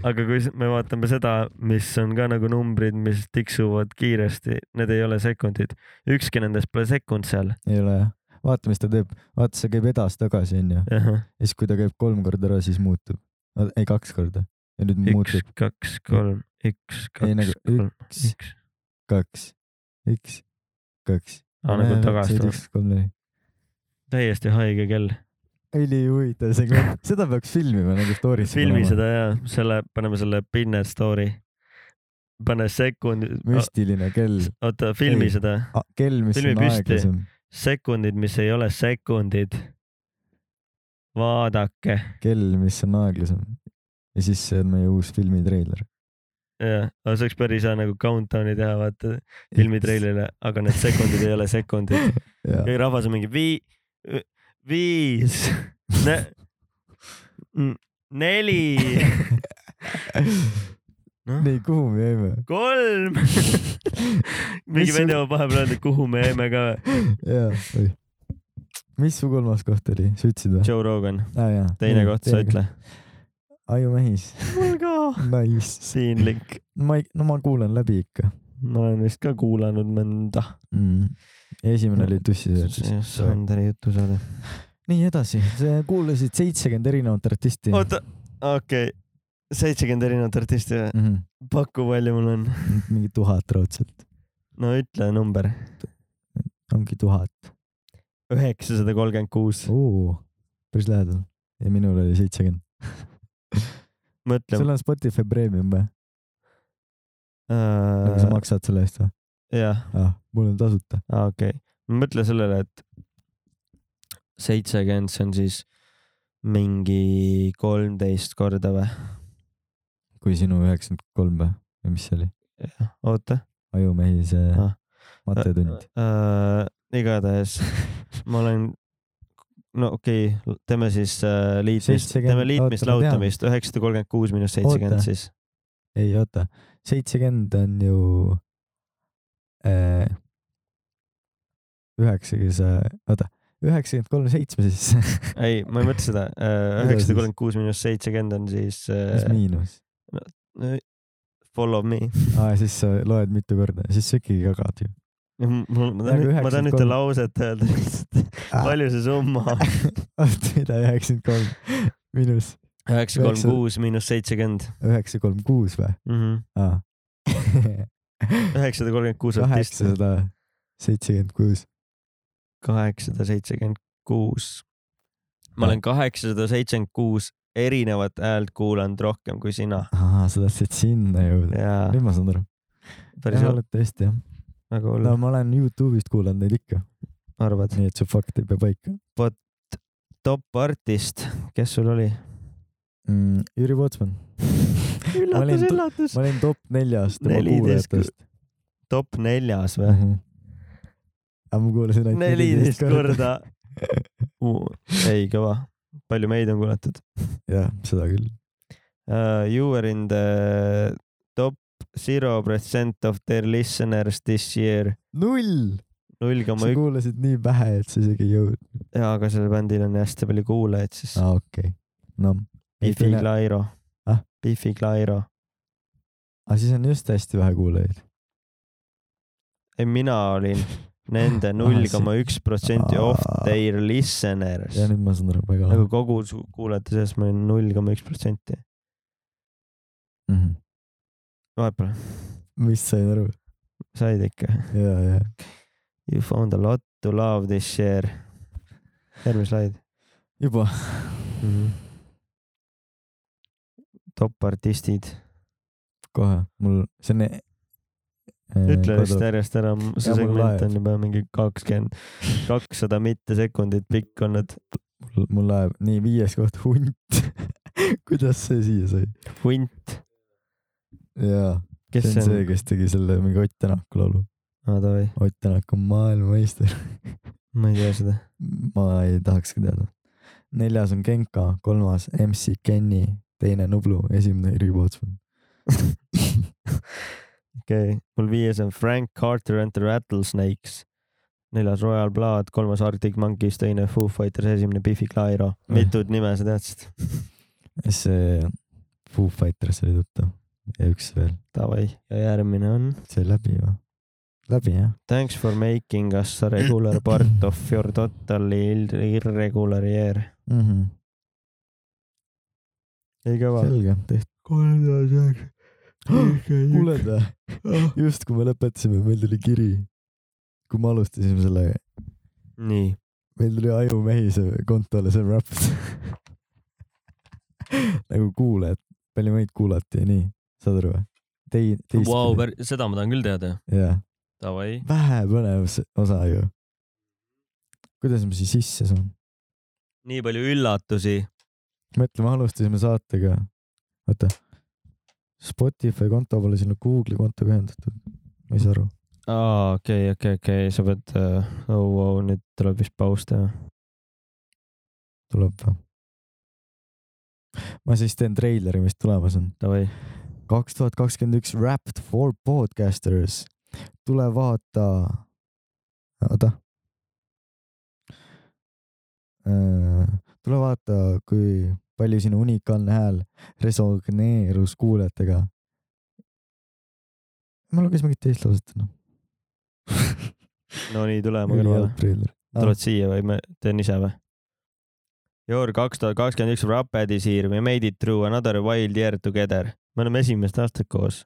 aga kui s- me vaatame seda , mis on ka nagu numbrid , mis tiksuvad kiiresti , need ei ole sekundid , ükski nendest pole sekund seal . ei ole jah . vaata , mis ta teeb . vaata , see käib edasi-tagasi , onju . ja siis , kui ta käib kolm korda ära , siis muutub . ei , kaks korda . ja nüüd üks muutub , kaks , kolm , üks , Ei, kaks nagu , kolm , üks , üks . kaks , üks , kaks . aa , nagu tagasi tuleb . üks , kolm , neli . täiesti haige kell . ülihuvitav segment , seda peaks filmima nagu story'sse . filmi . seda ja selle , paneme selle Pinner Story . pane sekund , müstiline kell , oota , filmi Ei. seda , kell , mis Filmi on püsti. aeglasem . sekundid , mis ei ole sekundid . vaadake kell , mis on aeglasem . ja siis see on meie uus filmitreiler . jah , aga see oleks päris hea nagu countdown'i teha , vaata filmitreilerile , aga need sekundid ei ole sekundid . jaa , ja rahvas on mingi vii- , viis ne, , neli , noh , nii , kuhu me jäime ? kolm . mingi Mis vend sul- jõuab vahepeal öelda , kuhu me jäime ka . jaa , oi . mis su kolmas koht oli , sa ütlesid või ? Joe Rogan , aa jaa . teine koht , sa . ütle . ajumehis , mul ka . nice . piinlik , ma ei , no ma kuulan läbi ikka ma olen vist ka kuulanud mõnda . mm. . esimene oli tussisöördis . Sanderi jutusaade . nii edasi , sa kuulasid seitsekümmend erinevat artisti . oota , okei okay. , seitsekümmend erinevat artisti või ? mm . -hmm. paku , palju mul on ? mingi tuhat raudselt , no ütle number . ongi tuhat üheksasada kolmkümmend kuus . uh, . päris lähedal . ja minul oli seitsekümmend . mõtle sul , on Spotify Premium või ? sa jah , maksad selle eest või ah, ? mul on tasuta . okei , mõtle sellele , et seitsekümmend , see on siis mingi kolmteist korda või ? kui sinu üheksakümmend kolm või ? või mis see oli ? oota , ajumehise Ah. ah. Äh, matetund . Äh, igatahes ma olen , no okei okay, , teeme siis äh, liitmist , 70 teeme liitmist oota, ma tean. lahutamist , üheksasada kolmkümmend kuus miinus seitsekümmend Oota. siis . ei oota , seitsekümmend on ju äh, üheksasaja , oota , üheksakümmend kolm seitsme siis , ei , ma ei mõtle seda , Mida siis? üheksasada kolmkümmend kuus miinus seitsekümmend on siis mis äh, miinus ? Ah. follow me . aa , siis sa loed mitu korda , siis sa ikkagi jagad ju . mul , ma Nagu tahan , Ah. ma tahan ühte 93. lauset öelda lihtsalt . palju see summa on ? oota , mida üheksakümmend kolm miinus üheksa , kolm , kuus miinus seitsekümmend . üheksa , kolm , kuus või ? aa . üheksasada kolmkümmend kuus artisti . kaheksasada seitsekümmend kuus . kaheksasada seitsekümmend kuus . ma olen kaheksasada seitsekümmend kuus erinevat häält kuulanud rohkem kui sina . aa , sa tahtsid sinna jõuda . jaa , nüüd ma saan aru . päris jah , hea . oled tõesti jah . väga hull no no. , ma olen Youtube'ist kuulanud neid ikka , arvad ? nii et see fakt ei pea paika top artist , kes sul oli ? mm, . Jüri Pootsman , Ma üllatus , olin tu- üllatus . ma olin top neljas tema 14 kuulajatest . top neljas või ? aga ma kuulasin ainult neliteist . korda . ei , kõva . palju meid on kuulatud jah , seda küll . uh, ? You were in the top zero percent of their listeners this year . null , null koma sa üks , kuulasid nii vähe , et sa isegi ei jõudnud . jaa , aga sellel bändil on hästi palju kuulajaid , siis aa , okei Noh, okay. . no , Bifi ütleme- Clyro Ah? . Bifi Clyro . aga siis on just hästi vähe kuulajaid . ei , mina olin Ah, nende null koma üks protsenti of their listeners ja . nüüd ma saan aru väga nagu kogu su- kuulajate seas ma olin null koma üks protsenti . mm . -hmm. vahepeal mis sain aru ? said ikka . ja , ja . You found a lot to love this year . järgmine slaid juba mm . -hmm. top artistid . kohe , mul , see on . e- ütle vist . järjest ära , see Jaa, mul segment laeb. on juba mingi kakskümmend , kakssada mittesekundit pikk olnud . mul läheb , nii viies koht , hunt . kuidas see siia sai ? hunt , jaa , kes see on see , kes... kes tegi selle mingi Ott Tänaku laulu . no davai , Ott Tänak on maailmameister . ma ei tea seda . ma ei tahakski teada . neljas on Genka , kolmas MC Kenny , teine Nublu , esimene Jüri Pootsman . okei okay. , mul viies on Frank Carter and the Rattlesnakes , neljas Royal Blood , kolmas Arctic Monkeys , teine Foo Fighters , esimene Biffy Clyro . mitut nime sa teadsid ? see Foo Fighters oli tuttav ja üks veel , davai , ja järgmine on see oli läbi või ? läbi jah , Thanks for making us a regular part of your totally ill- irregular year . mm -hmm. ei kõva . selge , tehtud . kolmas aeg . kuuled või ? just kui me lõpetasime , meil tuli kiri , kui me alustasime sellega , nii , meil tuli ajumehise kontole see rap nagu kuulajad , palju meid kuulati ja nii , saad aru või ? Tei- , teist vau ,. seda ma tahan küll teada . jaa , Davai . vähe põnev see osa ju . kuidas ma siia sisse saan ? nii palju üllatusi . mõtle , me alustasime saatega , oota , Spotify konto pole sinna Google'i kontoga ühendatud , ma ei saa aru . aa , okei , okei , okei , sa pead , oh , oh , nüüd tuleb vist paus teha . tuleb või ? ma siis teen treileri , mis tulemas on . Davai . kaks tuhat kakskümmend üks Wrapped for Podcasters . tule vaata , oota . Äh, tule vaata , kui palju sinu unikaalne hääl resoneerus kuulajatega . ma lugesin mingit teist lauset , noh . no nii , tule mu kõrvale ülihalb . treiler . tuled siia või ma teen ise või ? Your kaks tuhat kakskümmend üks Rapid is here , we made it through another wild year together . me oleme esimest aastat koos .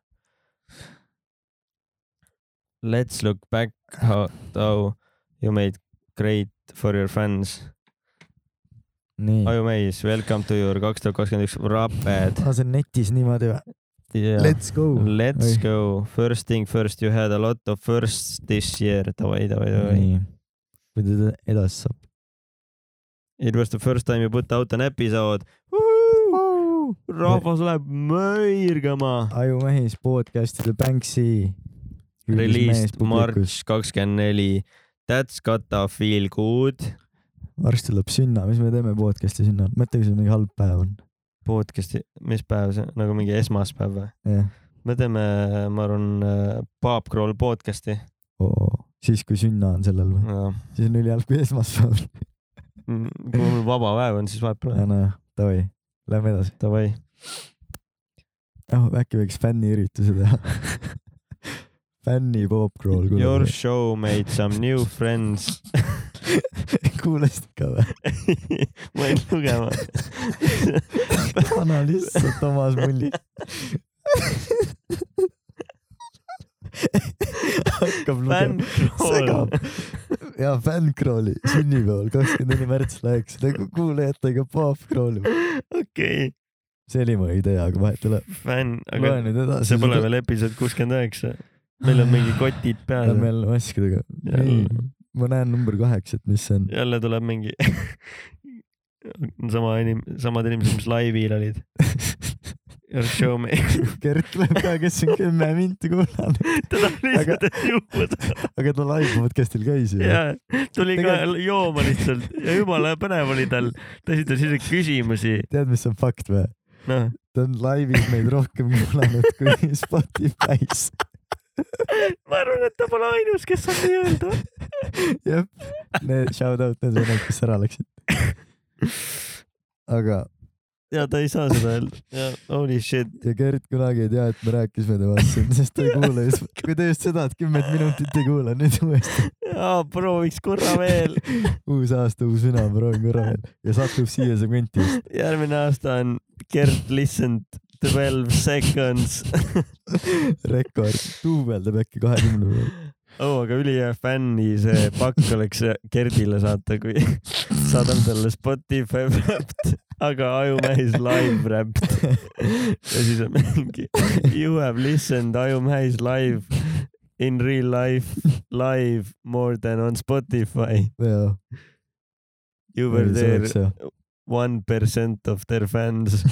Let's look back how, how you made great for your fans . nii . Aju Meis , welcome to your kaks tuhat kakskümmend üks Rapid . aa , Ah, see on netis niimoodi või ? Let's go . Let's go , first thing first , you had a lot of firsts this year , davai , davai , davai . nii , kui teda edasi saab . It was the first time you put out an episode . rahvas läheb möirgama . ajumehis podcast'ide Banksy . Released March kakskümmend neli . That's gotta feel good . varsti tuleb sünna , mis me teeme podcast'i sünna , mõtle , kui see mingi halb päev on . podcast'i , mis päev see , nagu mingi esmaspäev või ? jah , me teeme , ma arvan , Paap Kroll podcast'i . siis kui sünna on sellel või , kui siis on ülihalb , kui esmaspäev mul vaba päev on , siis vahepeal on . olen . no jah , davai , lähme edasi . Davai , oh , äkki võiks fänniürituse teha . fänni popcrawl . your show made some new friends . kuulasid ka või ? ma jäin lugema . vana lihtsalt Toomas Mulli . hakkab fänn lugema , Kroll segab . ja fännkraali sünnipäeval , kakskümmend neli märts läheks nagu kuulajatega paavkraali . okei , see oli mu idee , aga vahet ei ole . fänn , loe aga nüüd edasi . see pole . veel episood kuuskümmend üheksa . meil on mingi kotid peas . Lähme jälle maskidega . ma näen number kaheksa , et mis see on . jälle tuleb mingi sama inim- , samad inimesed , mis laivil olid . Show me . Gert läheb ka , kes on kümme minti kuulanud , ta tahab lihtsalt et juua saada . aga ta live podcast'il käis ju . ja tuli ka Tegelikult- jooma lihtsalt ja jumala põnev oli tal . ta esitas ise küsimusi , tead , mis on fakt või ? noh . ta on laivis meid rohkem kuulanud kui Spotify's . ma arvan , et ta pole ainus , kes on nii öelnud . jah , need shout out need vennad , kes ära läksid . aga , ja ta ei saa seda öelda . Holy shit . ja Gert kunagi ei tea , et me rääkisime temast siin , sest ta ei kuule just , kui ta just seda , et kümmet minutit ei kuula , nüüd uuesti . prooviks korra veel . uus aasta , uus mina , proovin korra veel ja satub siia see kant just . järgmine aasta on Gert listened twelve seconds . rekord , duubeldab äkki kahekümne peal . oo , Oh, aga ülihea fänni see pakk oleks Gerdile saata , kui saadame talle Spotify räppt , aga Ajumähis live räppt . ja siis on mingi you have listened Ajumähis live in real life live more than on Spotify . jaa . You were there one percent of their fans .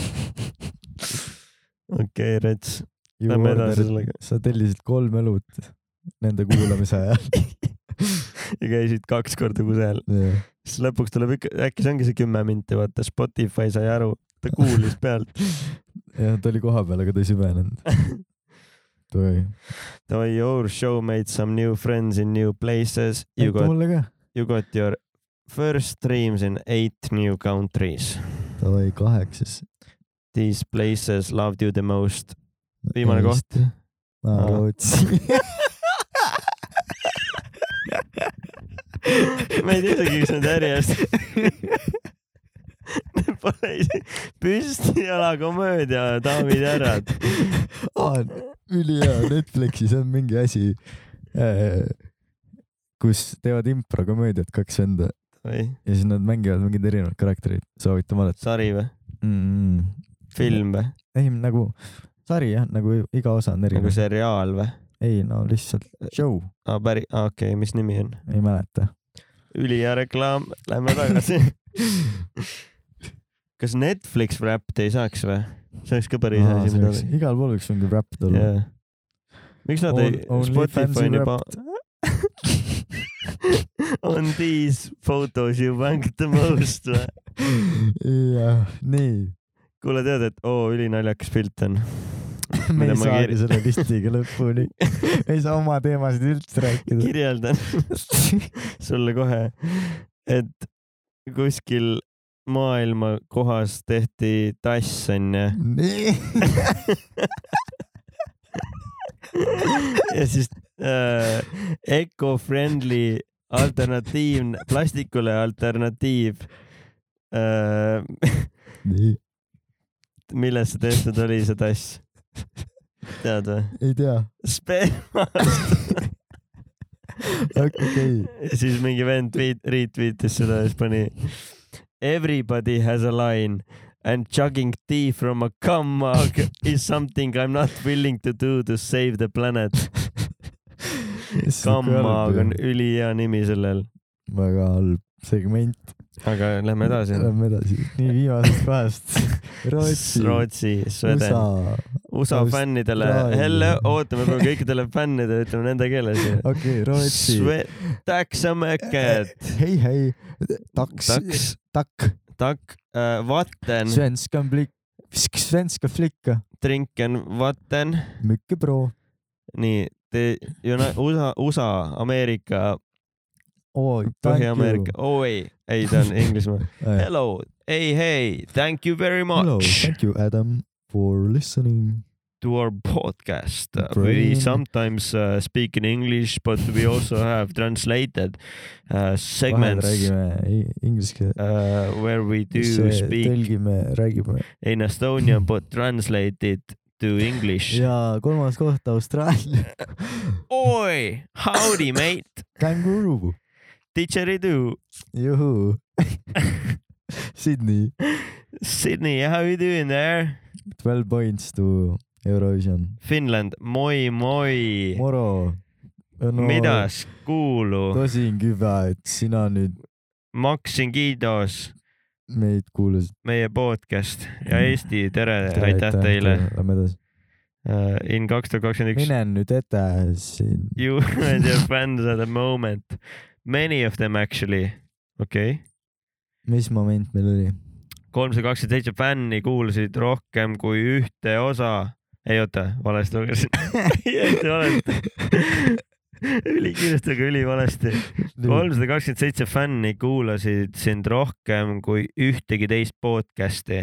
okei , Rets . Lähme edasi sellega. sa tellisid kolm õlut nende kuulamise ajal . ja käisid kaks korda kusagil , siis lõpuks tuleb ikka , äkki see ongi see kümme minti , vaata Spotify sai aru , ta kuulis pealt . jah , ta oli kohapeal , aga ta ei süvenenud . oi , Davai , your show made some new friends in new places . You aitab got , mulle ka . you got your first streams in eight new countries . Davai , kaheksas . These places loved you the most . viimane koht .. aa , Aa. Rootsi . ma ei tea isegi , mis need järjest . Pole isegi , püsti jala komöödia , daamid ja härrad . aa , ülihea , Netflixis on mingi asi , kus teevad improkomöödiat kaks venda või ja siis nad mängivad mingeid erinevaid karaktereid , soovitan vaadata sari või mm. . film või ei , nagu sari jah , nagu iga osa on nagu erinev . seriaal või ? ei no lihtsalt show , aa , päri- , aa okei okay, , mis nimi on ? ei mäleta . ülihea reklaam , lähme tagasi . kas Netflix Wrapped ei saaks või ? see oleks ka päris hea asi , mida teha . igal pool võiks mingi räpp tulla . jaa . miks nad ei , On- Spotify on OnlyFansi juba . On these photos you wank the most või ? jah , nii . kuule , tead , et oo , ülinaljakas pilt on . me Mida ei ma saagi keer- selle listiga lõpuni . ei saa oma teemasid üldse rääkida . kirjeldan sulle kohe , et kuskil maailma kohas tehti tass onju nii . ja siis äh, eco-friendly alternatiivne , plastikule alternatiiv äh, , nii , millest see tehtud oli , see tass ? tead või ? ei tea . spermast . okei , ja siis mingi vend tweet , retweetis seda ja siis pani Everybody has a line and chugging tea from a cum mug is something I m not willing to do to save the planet . cum øh, mug on ülihea nimi sellel . väga halb segment . aga lähme edasi . Lähme edasi . nii , viimasest kohast . Äh, Rootsi, Rootsi , Sweden , USA . USA Aust- fännidele Austraalia. , hello , oota , me peame kõikidele fännidele ütlema nende keeles . okei , Rootsi . Äh, Tacksamäked , hei , hei . taks , taks , takk . tak- , äh, vatten , Svenska blick , svenska flicka . trinken vatten , Mycket bra. nii , te , USA , USA , Ameerika , Oi, thank you. Põhja-Ameerika , oi , ei , see on Inglismaa . Ah, ja. Hello , ei , hei , thank you very Hello, much . thank you Adam for listening . to our podcast. Uh, we Brilliant. sometimes uh, speak in English, but we also have translated uh, vahel segments räägime i- øh, inglise keeles . uh, where we do speak tõlgime , räägime . in Estonian, but translated to English. ja kolmas koht Austraalia . Oi, howdy, mate. känguru . Didgeridoo. juhuu . Sydney . Sydney, how you doing there? Twelve points to Eurovision , Finland , moi moi . moro . Midas kuuluu ? tosin küva , et sina nüüd maksin kiidos meid kuulasid . meie podcast ja Eesti , tere, tere , aitäh teile . Lähme edasi . In kaks tuhat kakskümmend üks . mine nüüd ette siin . You and your friends at the moment . Many of them actually . okei okay. . mis moment meil oli ? kolmsada kakskümmend seitse fänni kuulasid rohkem kui ühte osa . ei oota , valesti lugesin . täiesti valesti . ülikiiresti , aga ülivalesti . kolmsada kakskümmend seitse fänni kuulasid sind rohkem kui ühtegi teist podcast'i .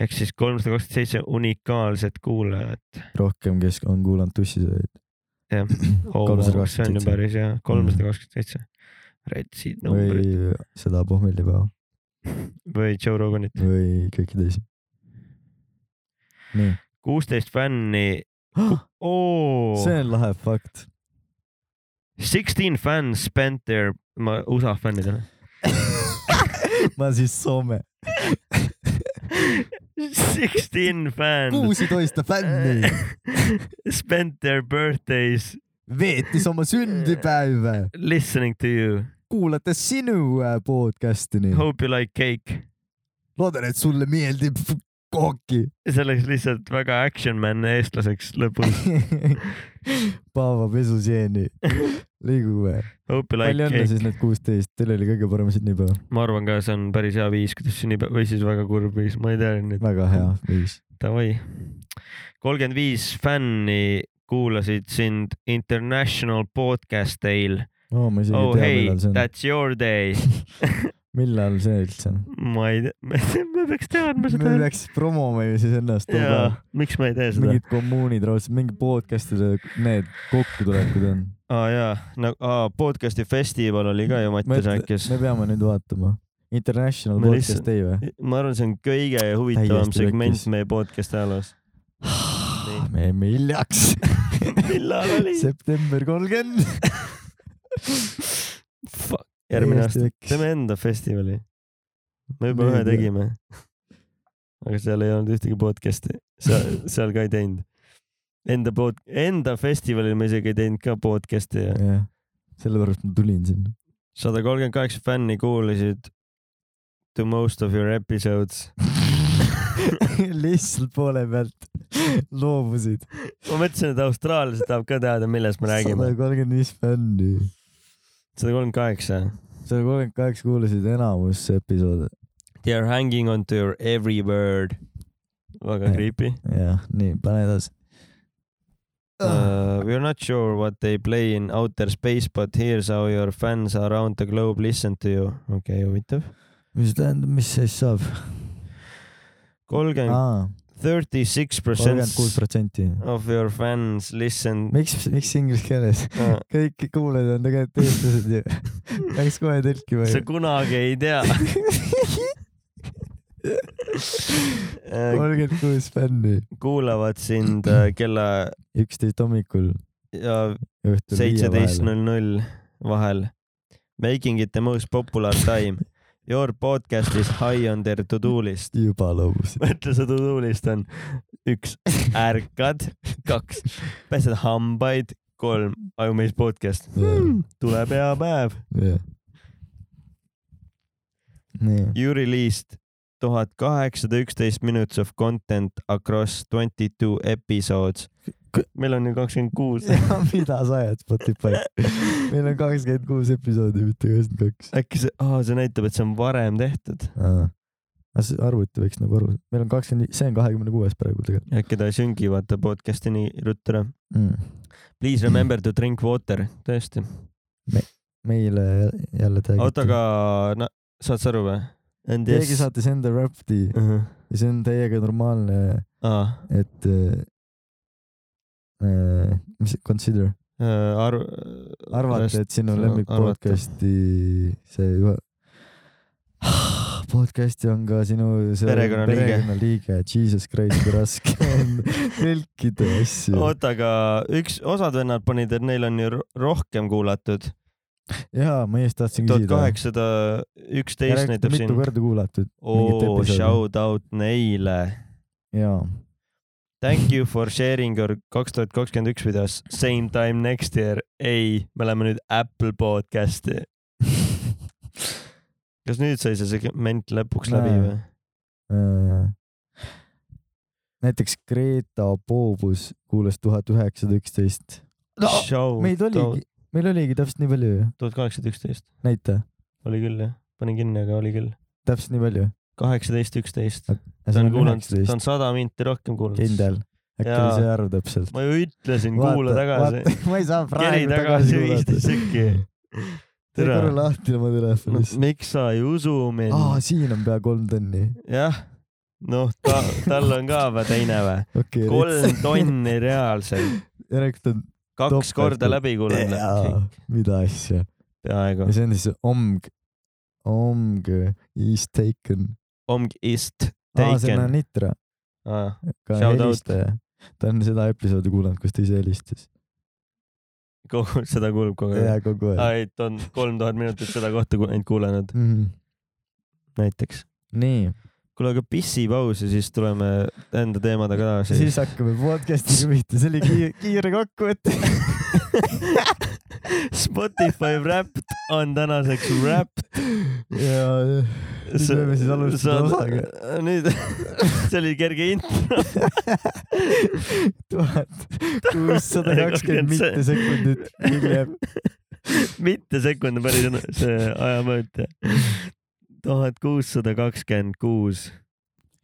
ehk siis kolmsada kakskümmend seitse unikaalset kuulajat . rohkem , kes on kuulanud tussisööjaid . jah , see on ju 327. päris hea , kolmsada kakskümmend seitse . Retsid numbrid Mm. või seda pohmellipäeva või Joe Roganit . või kõiki teisi . nii , kuusteist fänni . oo see on lahe fakt . Sixteen fans spent their , ma USA fännidele . ma siis Soome . Sixteen fans kuusitoista fänni spent their birthdays veetis oma sündipäeva , listening to you . kuulates sinu äh, podcast'i nii . Hope you like cake . loodan , et sulle meeldib kooki . see läks lihtsalt väga action man eestlaseks lõpus . Paavo pesuseeni . liigume . Hope you palju like õnne cake . siis need kuusteist , teil oli kõige parem sünnipäev . ma arvan ka , see on päris hea viis , kuidas sünnib või siis väga kurb viis , ma ei tea nüüd , väga hea viis . davai . kolmkümmend viis fänni kuulasid sind International Podcast Day'l . oo , ma isegi Oh ei tea , hey millal , see on . that's your day . millal see üldse on ? ma ei tea , me peaks teadma me seda . peaks promoma ju siis ennast . jaa , miks ma ei tee seda ? mingid kommuunid raudselt , mingi podcast'ide need kokkutulekud on . aa jaa , nagu aa, podcast'i festival oli ka ju Mattias äkis . me peame nüüd vaatama . International Me Podcast lihtsalt- Day või ? ma arvan , see on kõige huvitavam Täiesti segment pekkis. meie podcast'i ajaloos . Ah, me jäime hiljaks . millal oli ? september kolmkümmend . Fuck , järgmine aasta . teeme enda festivali . me juba ühe Nii, tegime . aga seal ei olnud ühtegi podcast'i , seal , seal ka ei teinud . Enda pod- , enda festivalil me isegi ei teinud ka podcast'i ja jah , sellepärast ma tulin sinna . sada kolmkümmend kaheksa fänni kuulasid to most of your episodes . lihtsalt poole pealt loobusid . ma mõtlesin , et austraallased tahab ka teada , millest me räägime sada . kolmkümmend viis fänni . sada kolmkümmend kaheksa . sada kolmkümmend kaheksa kuulasid enamus episoode . They are hanging on to your every word . väga Jah. creepy jah , nii , pane edasi . uh, . We are not sure what they play in outer space , but here's how your fans around the globe listen to you . okei okay, , huvitav . mis tähendab , mis siis saab ? kolmkümmend , thirty six Ah. kolmkümmend kuus percent protsenti of your fans listen . uh, miks , miks inglise keeles ? kõik kuulajad on tegelikult eestlased ju . Läks kohe tõlkima sa ju . kunagi ei tea . Äh, kolmkümmend kuus fänni . kuulavad sind äh, kella üksteist hommikul , ja õhtul viie seitseteist vahel . null null vahel . Making it the most popular time . Your podcast is high on their to do list . juba loobusid . mõtle , see to do list on üks , ärkad , kaks , pesed hambaid , kolm , ajumees podcast hmm, . tuleb hea päev . nii , You released tuhat kaheksasada üksteist minutes of content across twenty two episodes . meil on ju kakskümmend kuus . mida sa ajad Spotify ? meil on kakskümmend kuus episoodi , mitte kakskümmend kaks . äkki see , see näitab , et see on varem tehtud . aga see arvuti võiks nagu aru , meil on kakskümmend , see on kahekümne kuues praegu tegelikult äkki ta ei süngi vaata podcast'i nii ruttu ära . mm. . Please remember to drink water , tõesti . meile jälle tagiti. oota , aga no, saad sa aru või ? And keegi saatis enda räppi uh . ja see on täiega normaalne -huh. et äh, äh, mis see consider , Ah, arv- . arvata , et sinu no, lemmik arvata. podcast'i see juba podcast'i on ka sinu see Perekonnaliige. perekonnaliige , Jesus Christ , kui raske on tõlkida asju . oota , aga üks , osad vennad panid , et neil on ju ro- rohkem kuulatud . jaa , ma just tahtsin tuhat küsida . kaheksasada üksteist näitab mitu siin . korda kuulatud mingit oo , episoodi. shout out neile . jaa , Thank you for sharing your kaks tuhat kakskümmend üks videos same time next year . ei , me oleme nüüd Apple podcast'i . kas nüüd sai see segment lõpuks läbi Näe. või ? Äh, näiteks Greta Poobus kuulas tuhat üheksasada üksteist . meid oligi , meil oligi täpselt nii palju ju , tuhat kaheksasada üksteist , näita , oli küll jah , panin kinni , aga oli küll . täpselt nii palju . kaheksateist , üksteist , ta on kuulanud , ta on sada minti rohkem kuulanud . kindel , äkki Jaa. oli see arv täpselt . ma ju ütlesin , kuula tagasi .. ma ei saa keri praegu tagasi tagasi viisteist kuulata . sekki . tee tere. korra lahti oma no telefonist . miks sa ei usu mind ? aa , siin on pea kolm tonni . jah , noh , ta , tal on ka vä teine vä ? okei . kolm . tonni reaalselt , järelikult on , kaks Topelt. korda läbi kuulanud . mida asja . peaaegu ja . see on siis omg , omg is taken . ongi ist aa , see on taken . Anitra , ka Shout out. helistaja . ta on seda episoodi kuulanud , kus ta ise helistas . kogu , seda kuulub kogu aeg . jaa , kogu aeg . ei , ta on kolm tuhat minutit seda kohta ku- ainult kuulanud näiteks . Mhm. nii , kuule , aga pissipaus ja siis tuleme enda teemadega tagasi . siis hakkame podcast'iga pihta , see oli kiire , kiire kokkuvõte . Spotify Wrapped on tänaseks Wrapped . ja , nüüd võime siis alustada osaga . nüüd see oli kerge intro . tuhat kuussada kakskümmend mittesekundit mul jääb . mitte sekund on päris õnn- see ajamõõt . tuhat kuussada kakskümmend kuus .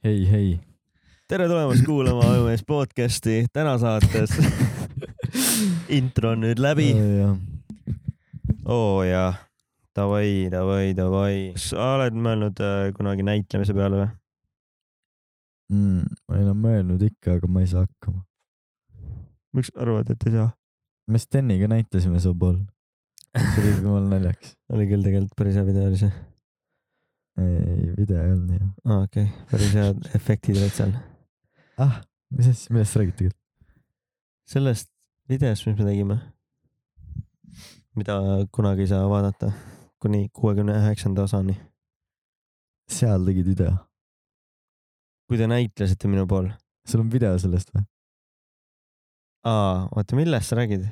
hei , hei . tere tulemast kuulama Ajumees podcasti täna saates . intro on nüüd läbi . oo oh, jaa , davai , davai , davai . kas sa oled mõelnud äh, kunagi näitlemise peale või ? mm, . ma olen mõelnud ikka , aga ma ei saa hakkama . miks arvad , et ei saa ? me Steniga näitasime su pool . see oli jumala naljakas . oli küll tegelikult päris hea video oli see . ei , video ei olnud hea . aa okei okay. , päris head efektid olid seal . ah , mis asja , millest sa räägid tegelikult ? sellest videost , mis me tegime , mida kunagi ei saa vaadata kuni kuuekümne üheksanda osani . seal tegid video . kui te näitlesite minu pool . sul on video sellest või ? aa , oota , millest sa räägid ?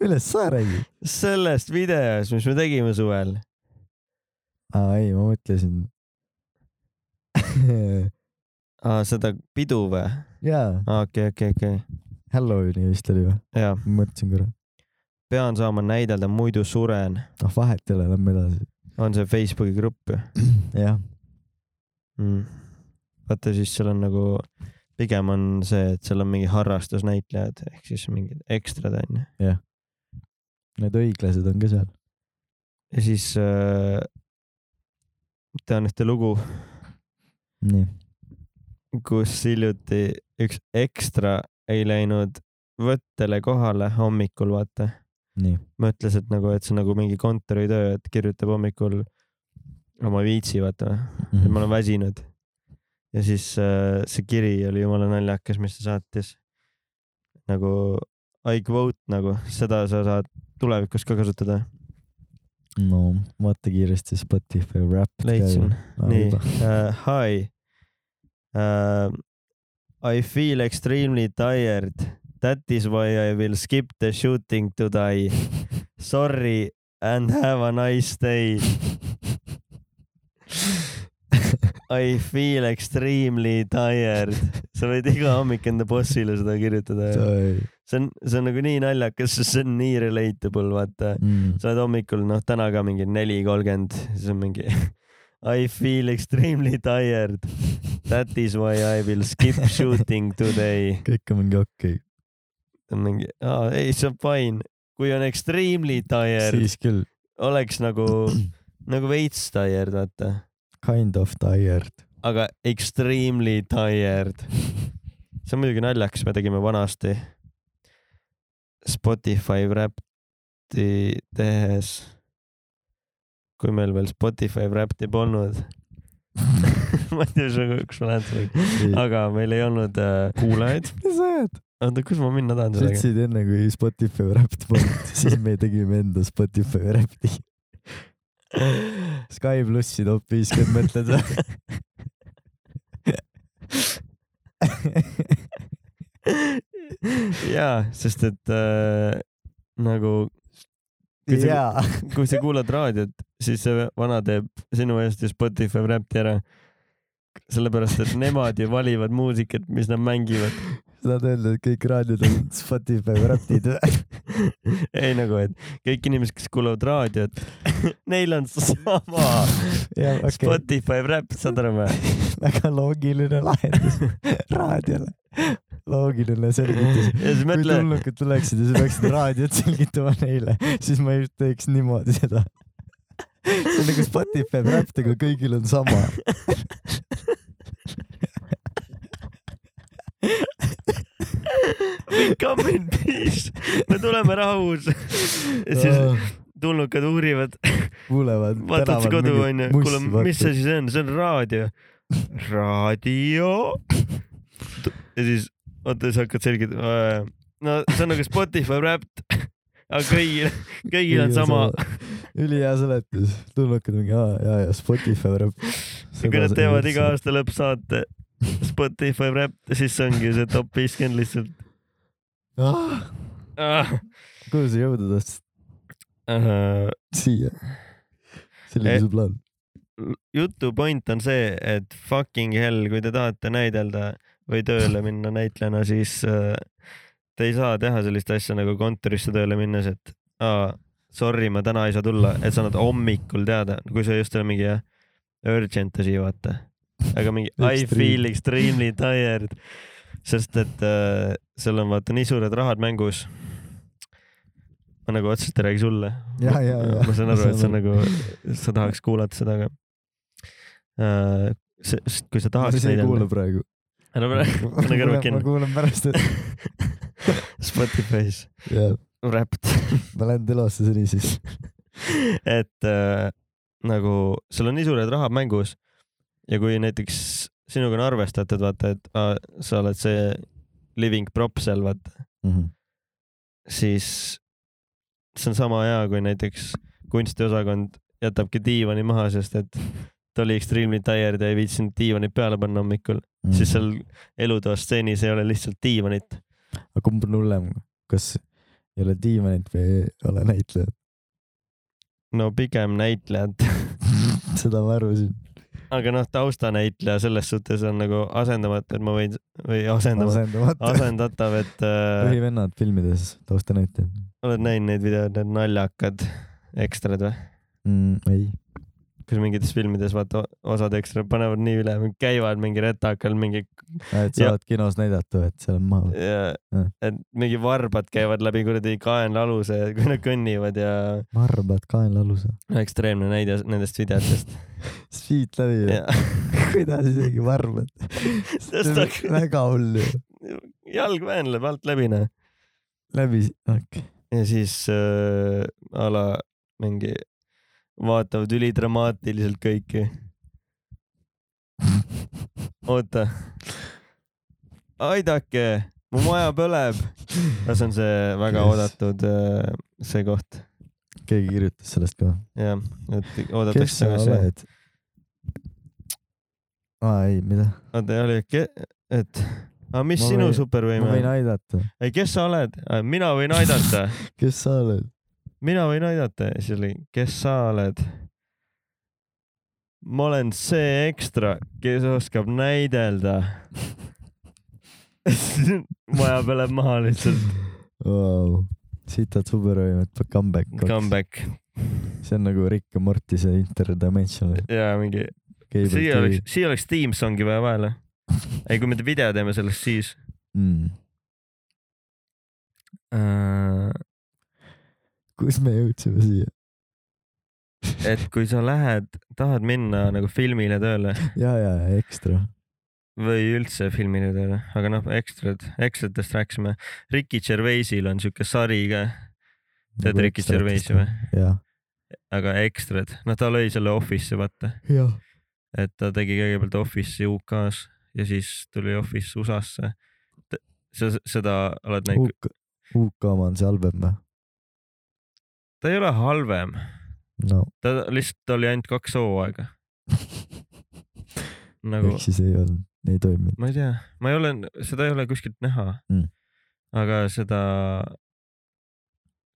millest sa räägid ? sellest videost , mis me tegime suvel . aa ei , ma mõtlesin aa , Ah, seda pidu või ? jaa , aa , okei , okei , okei . Halloweeni vist oli või ? jaa , mõtlesin korra . pean saama näidelda , muidu suren . ah vahet ei ole , lähme edasi . on see Facebooki grupp ju jah , mm. ? vaata , siis seal on nagu , pigem on see , et seal on mingi harrastusnäitlejad ehk siis mingid ekstrad onju . need õiglased on ka seal . ja siis äh, tean ühte lugu , nii . kus hiljuti üks ekstra ei läinud võttele kohale hommikul , vaata . nii , mõtles , et nagu , et see on nagu mingi kontoritöö , et kirjutab hommikul oma viitsi , vaata mm. , et ma olen väsinud . ja siis äh, see kiri oli jumala naljakas , mis ta saatis . nagu I quote nagu , seda sa saad tulevikus ka kasutada . no vaata kiiresti Spotify Wrapped . leidsin . Nagu nii , hi uh, . I feel extremely tired . That is why I will skip the shooting today . Sorry and have a nice day . I feel extremely tired . sa võid iga hommik enda bossile seda kirjutada . see on , see on nagu nii naljakas , sest see on nii relatable , vaata . sa oled hommikul , noh , täna ka mingi neli kolmkümmend , siis on mingi I feel extremely tired . That is why I will skip shooting today . kõik on mingi okei mingi , aa ei , see on fine . kui on extremely okay. , tired , siis küll oleks nagu , nagu veits tired , vaata . kind of tired . aga extremely tired . see on muidugi naljakas , me tegime vanasti Spotify Wrapped'i tehes , kui meil veel Spotify Wrapped'i polnud . ma ei tea , kus ma lähen sellega , mis aga meil ei olnud äh, kuulajaid . sa ajad ? oota , kus ma minna tahan sa sellega ? ütlesid enne kui Spotify Wrapped polnud , siis me tegime enda Spotify Wrapped'i . Sky plussi top viiskümmend mõtled või ? jaa , sest et äh, nagu Kui see- jaa , kui sa kuulad raadiot , siis see vana teeb sinu eest ju Spotify Wrapped'i ära . sellepärast , et nemad ju valivad muusikat , mis nad mängivad . saad öelda , et kõik raadiod on Spotify räpid või ? ei nagu , et kõik inimesed , kes kuulavad raadiot , neil on sama jah , okay. okei , Spotify Wrap , saad aru või ? väga loogiline lahendus raadiole . loogiline selgitus . ja siis kui mõtle , tulnukad tuleksid ja sa peaksid raadiot selgitama neile , siis ma just teeks niimoodi seda . see on nagu Spotify räpp , aga kõigil on sama . we come in peace , me tuleme rahus . ja siis tulnukad uurivad , Ah, kuulevad . vaatad su kodu onju , kuule , mis see siis on , see on raadio . raadio . ja siis , oota , sa hakkad selgitama . no see on nagu Spotify Wrapped , aga kõigil , kõigil on sama .. ülihea seletus , tulnukad mingi , aa , jaa , jaa , Spotify räpp . kui nad teevad iga . aasta lõppsaate Spotify Wrapped , siis see ongi see top viiskümmend lihtsalt ah, . kuhu sa jõuda tahtsid ? Äh, siia . see oli Eh. su plaan . jutu point on see , et fucking hell , kui te tahate näidelda või tööle minna näitlejana , siis äh, te ei saa teha sellist asja nagu kontorisse tööle minnes , et aa , sorry , ma täna ei saa tulla , et sa annad hommikul teada , kui see just ei ole mingi jah, urgent asi , vaata . aga mingi I Extreme. feel extremely tired , sest et äh, seal on vaata nii suured rahad mängus . ma nagu otseselt ei räägi sulle . ja , ja , ja . ma saan aru , et see on nagu , sa tahaks kuulata seda , aga äh, see- sest kui sa tahaks ma ise ei näidelda kuule , praegu . ära pane pane kõrvad ma kinni . kuulan pärast , et Spotify's jah , Wrapped , ma lähen telosse seni siis . et äh, nagu sul on nii suured rahad mängus ja kui näiteks sinuga on arvestatud , vaata , et aa, sa oled see living prop seal , vaata , Mhm, siis see on sama hea , kui näiteks kunstiosakond jätabki diivani maha , sest et ta oli extremely tired ja ei viitsinud diivanit peale panna hommikul . Mhm. siis . seal elutoas stseenis ei ole lihtsalt diivanit . aga kumb on hullem , kas ei ole diivanit või ei ole näitlejat ? no pigem näitlejad , seda ma arvasin . aga noh , taustanäitleja selles suhtes on nagu asendamatu , et ma võin või asendamatu , asendamata . asendatav , et äh, põhivennad filmides taustanäitlejad oled näinud neid videoid , need naljakad ekstrad või ? mm, . ei . kus mingites filmides vaata osad ekstrad panevad nii üle , käivad mingi rätakal mingi , et Ja- saavad kinos näidata , et seal on maha . Mm. et mingi varbad käivad läbi kuradi kaenlaaluse , kui nad kõnnivad ja varbad kaenlaaluse . ekstreemne näide nendest videotest . siit läbi ju . kuidas isegi varbad ? väga hull ju . jalg väänleb alt läbi , noh . läbi , okei . ja siis äh, a la mingi vaatavad ülidramaatiliselt kõiki . oota , aidake , mu maja põleb . no see on see väga yes. Kes? oodatud äh, see koht , keegi kirjutas sellest ka . jah , et kes oodatakse sa . oled ? aa ei , mida ? oota , ei ole , et , aga mis Ma ma sinu võin- ma supervõime võin on ? aidata . ei , kes sa oled ? mina võin aidata kes sa oled ? mina võin aidata ja siis oli , kes sa oled ? ma olen see ekstra , kes oskab näidelda . maja peale maha lihtsalt , wow. . sitad supervõimet comeback . comeback see on nagu Rick ja Morty see interdimensional . ja mingi , siia oleks , siia oleks Team Songi vaja vahele . ei , kui me te- video teeme sellest , siis mm. . äh, , kus me jõudsime siia ? et kui sa lähed , tahad minna nagu filmile tööle ja , ja ekstra . või üldse filmile tööle , aga noh , ekstrad , ekstratest rääkisime . Ricky Gervaisil on siuke sari ka Tead Ricky Gervaisi või? ? Nagu jah . aga ekstrad , noh , ta lõi selle Office'i , vaata , jah . et ta tegi kõigepealt Office'i UK-s ja siis tuli Office USA-sse . sa seda oled näinud , UK , UK oma on see halvem või ? ta ei ole halvem , no ta lihtsalt oli ainult kaks hooaega nagu ehk siis ei olnud . ei toiminud . ma ei tea , ma ei ole , seda ei ole kuskilt näha Mm. aga seda ,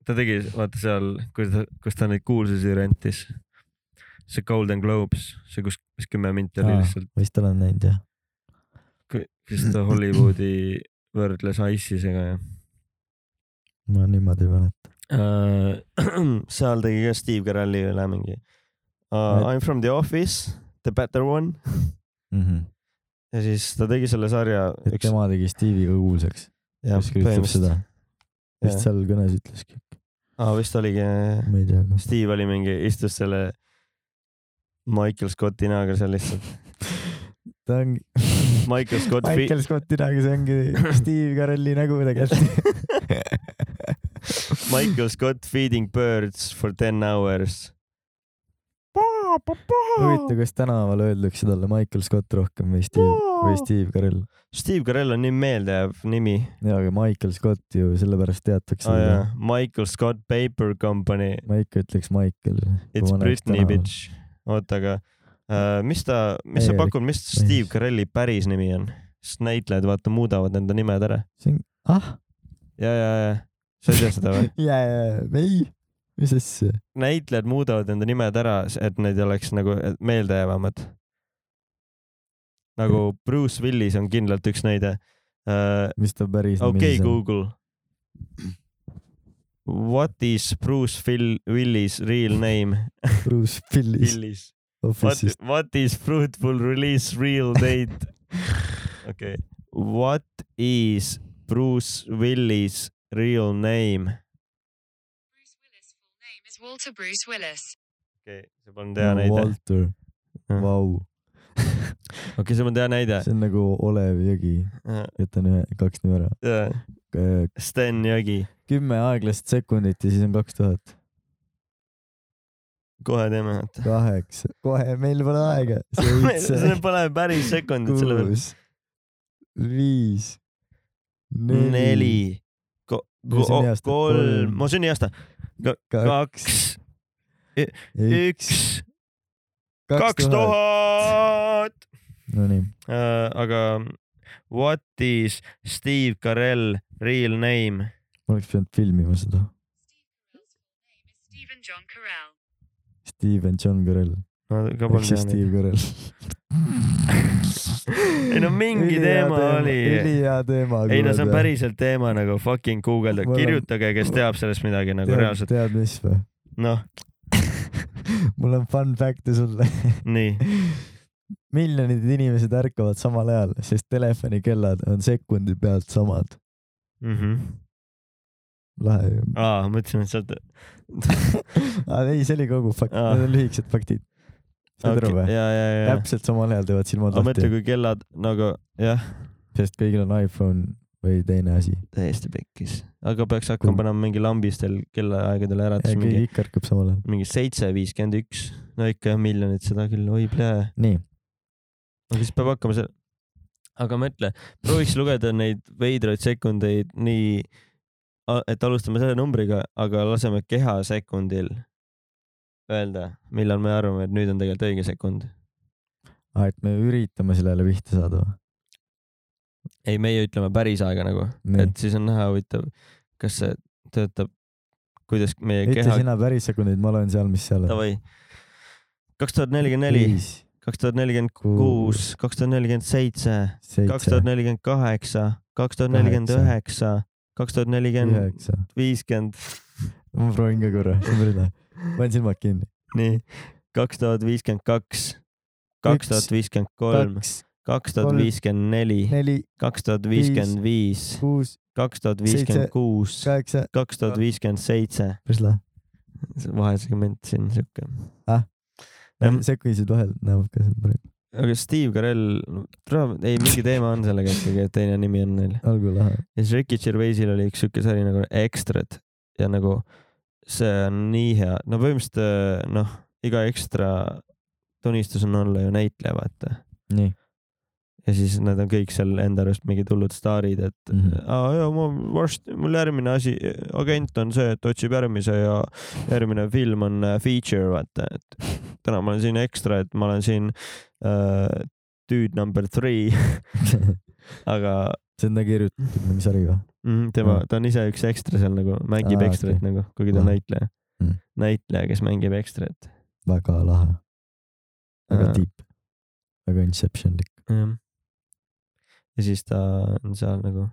ta tegi , vaata seal , kui ta , kus ta neid kuulsusi rentis , see Golden Globes , see kus , mis kümme minti oli Aa. lihtsalt , vist olen näinud jah . kes ta Hollywoodi võrdles Ice'isega ja ma niimoodi ei mäleta . uh, . seal tegi ka Steve Carelli üle mingi uh, I m from the office , the better one Mhm. ja siis ta tegi selle sarja . et tema tegi Steve'iga kuulsaks . kuskil ütleb seda . vist seal kõnes ütleski , ah, . vist oligi ma ei tea kas . Steve oli mingi , istus selle Michael Scotti näoga seal lihtsalt . ta ongi . Michael Scott fi- Michael Scotti näoga , see ongi Steve Carelli nägu tegelikult . Michael Scott feeding birds for ten hours . huvitav , kas tänaval öeldakse talle Michael Scott rohkem või Steve või Steve Carell . Steve Carell on nii meeldejääv nimi jaa , aga Michael Scott ju sellepärast teatakse oh, . Yeah. Michael Scott Paper Company , ma ikka ütleks Michael . it's Britney . bitch . oota , aga uh, mis ta , mis sa Täielik pakud , mis mees. Steve Carelli päris nimi on ? sest näitlejad vaata muudavad enda nimed ära . see on , ah , ja , ja , ja sa ei tea seda või ? jaa , jaa , ei , mis asja . näitlejad muudavad enda nimed ära , et need oleks nagu meeldejäävamad . nagu Hmm. Bruce Willis on kindlalt üks näide uh, . mis ta päris okei okay, , nimi on ? Google . What is Bruce Phil Willis real name ? Bruce Willis Willis . What, Office'ist . what is fruitful release real date ? okei okay. . What is Bruce Willis real name ? Bruce Willis' full name is Walter Bruce Willis. okei okay, , see polnud hea näide . Walter , Jah. vau , okei okay, , see polnud hea näide . Äh. see on nagu Olev Jõgi , jätan ühe , kaks nime ära . Sten Jõgi , kümme aeglast sekundit ja siis on kaks tuhat kohe teeme . kaheksa , kohe , meil pole aega . see pole päris sekundid selle peale . kuus , viis , neli , neli , Ma sünni aasta- kolm kolm. , mu sünniaasta , kaks , kaks , üks , kaks . tuhat . Nonii , aga what is Steve Carell real name ? ma oleks pidanud filmima seda . Stephen John Carell. Steven John Carell , ehk siis Steve Carell Ei no mingi teema oli. ülihea teema . ei no see on . päriselt teema nagu fucking guugelda , Ma olen- kirjutage , kes teab sellest midagi nagu tead , reaalselt , tead mis või ? noh , mul on fun fact'e sulle . nii . miljonid inimesed ärkavad samal ajal , sest telefonikellad on sekundi pealt samad . lahe ju . Mhm. aa , mõtlesin , et sealt aga ei , see oli kogu fakt , Aa. need on lühikesed faktid . saad aru okay, . või ? ja , ja , ja , täpselt samal ajal teevad silmad aga mõtle , lahti , kui kellad nagu jah , sest kõigil on iPhone või teine asi . täiesti pekkis , aga peaks hakkama Kui- panema mingi lambistel kellaaegadel ära , et siis mingi keegi , ikka ärkab samal ajal . mingi seitse viiskümmend üks , no ikka jah , miljonid seda küll , oi plee , nii , aga siis peab hakkama seal . aga mõtle , prooviks lugeda neid veidraid sekundeid nii , et alustame selle numbriga , aga laseme keha sekundil öelda , millal me arvame , et nüüd on tegelikult õige sekund . Ah, et me üritame sellele pihta saada või ? ei , meie ütleme päris aega nagu Nii. et siis on näha huvitav , kas see töötab , kuidas meie ütle keha , sina päris sekundeid , ma loen seal , mis seal on . davai . kaks tuhat nelikümmend neli , kaks tuhat nelikümmend kuus , kaks tuhat nelikümmend seitse , kaks tuhat seitse , nelikümmend kaheksa , kaks tuhat nelikümmend üheksa , kaks tuhat nelikümmend üheksa . viiskümmend , ma proovin ka korra , see on päris lahe . panen silmad kinni . nii , kaks tuhat viiskümmend kaks , kaks tuhat viiskümmend kolm , kaks , kaks tuhat viiskümmend neli , neli , kaks tuhat viiskümmend viis , kuus , kaks tuhat viiskümmend kuus , kaheksa , kaks tuhat viiskümmend seitse , päris lahe . vahesegment siin siuke Ah. . Jah. sekundid vahel näevad ka seal praegu . aga Steve Carell , ei mingi teema on sellega ikkagi , et teine nimi on neil . algul lahe . ja siis Ricky Gervaisil oli üks siuke sari nagu Extrad ja nagu see on nii hea , no põhimõtteliselt äh, noh , iga ekstra tunnistus on olla ju näitleja , vaata . nii . ja siis nad on kõik seal enda arust mingid hullud staarid , et mm Mhm. -hmm. aa jaa , ma varsti , mul järgmine asi , agent on see , et otsib järgmise ja järgmine film on äh, feature , vaata , et täna ma olen siin ekstra , et ma olen siin äh, dude number three aga see on ta kirjutatud mingi sari või ? mm, tema Mm. , ta on ise üks ekstra seal nagu , mängib Aa, ah, ekstrat okei. okay. nagu , kuigi ta on Ah. näitleja Mm. mm. . näitleja , kes mängib ekstrat . väga lahe , väga Äh. tiip , väga inceptionlik . jah . ja siis ta on seal nagu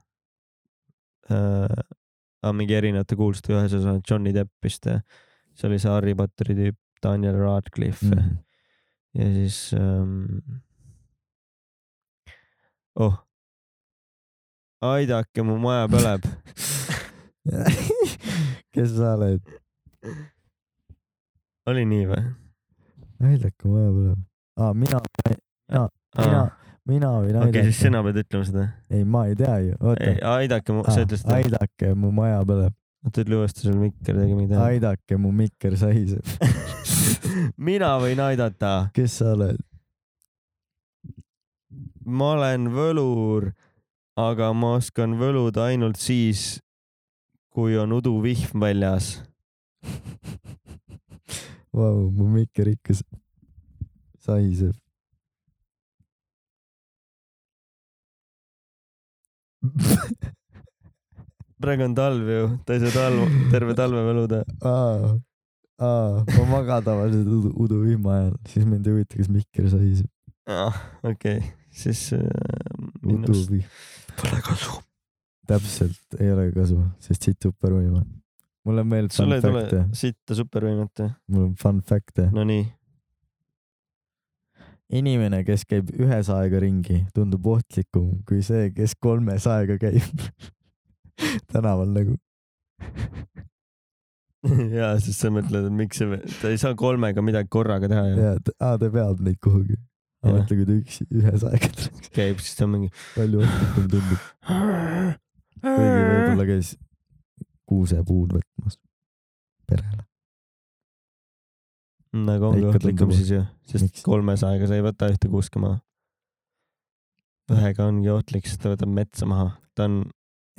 äh, , mingi erinevate kuulsuste ühes osas on Johnny Depp vist , see oli see Harry Potteri tüüp , Daniel Radcliffe mm. Mhm. ja siis ähm... . oh , aidake , mu maja põleb . kes sa oled ? oli nii või ? aidake , mu aja põleb . aa , mina , mina , mina võin okei , siis aidata . sina pead ütlema seda . ei , ma ei tea ju , oota . aidake mu , sa ütlesid , aidake , mu maja põleb , oota ütle uuesti sul mikker tegi midagi . aidake , mu mikker sahiseb . mina võin aidata , kes sa oled ? ma olen võlur , aga ma oskan võluda ainult siis , kui on uduvihm väljas . Vau , mu mikker ikka s- sahiseb . praegu on talv ju , ta ei saa talv , terve talve võluda . aa , aa , ma magan tavaliselt udu , uduvihma ajal , siis mind ei huvita , kas mikker sahiseb . Ah, okei , siis äh, minust uduvihm , pole kasu . täpselt ei ole kasu , sest siit supervõime . mul on veel sul fun ei tule fact'e , sitta supervõimet või ? mul on fun fact'e . Nonii , inimene , kes käib ühe saega ringi , tundub ohtlikum kui see , kes kolme saega käib tänaval nagu . ja siis sa mõtled , et miks see , ta ei saa kolmega midagi korraga teha ju . ja ta, aa, ta veab neid kuhugi . Jah. mõtle , kui ta üksi , ühe saega tuleks , käib , siis ta on mingi . palju ohtlikum tundub . kuigi võib-olla käis kuusepuud võtmas perele . nagu Ja ongi ikka ohtlikum tundub- siis ju , miks? sest kolmesajaga sa ei võta ühte kuuske maha . ühega ongi ohtlik , sest ta võtab metsa maha , ta on ,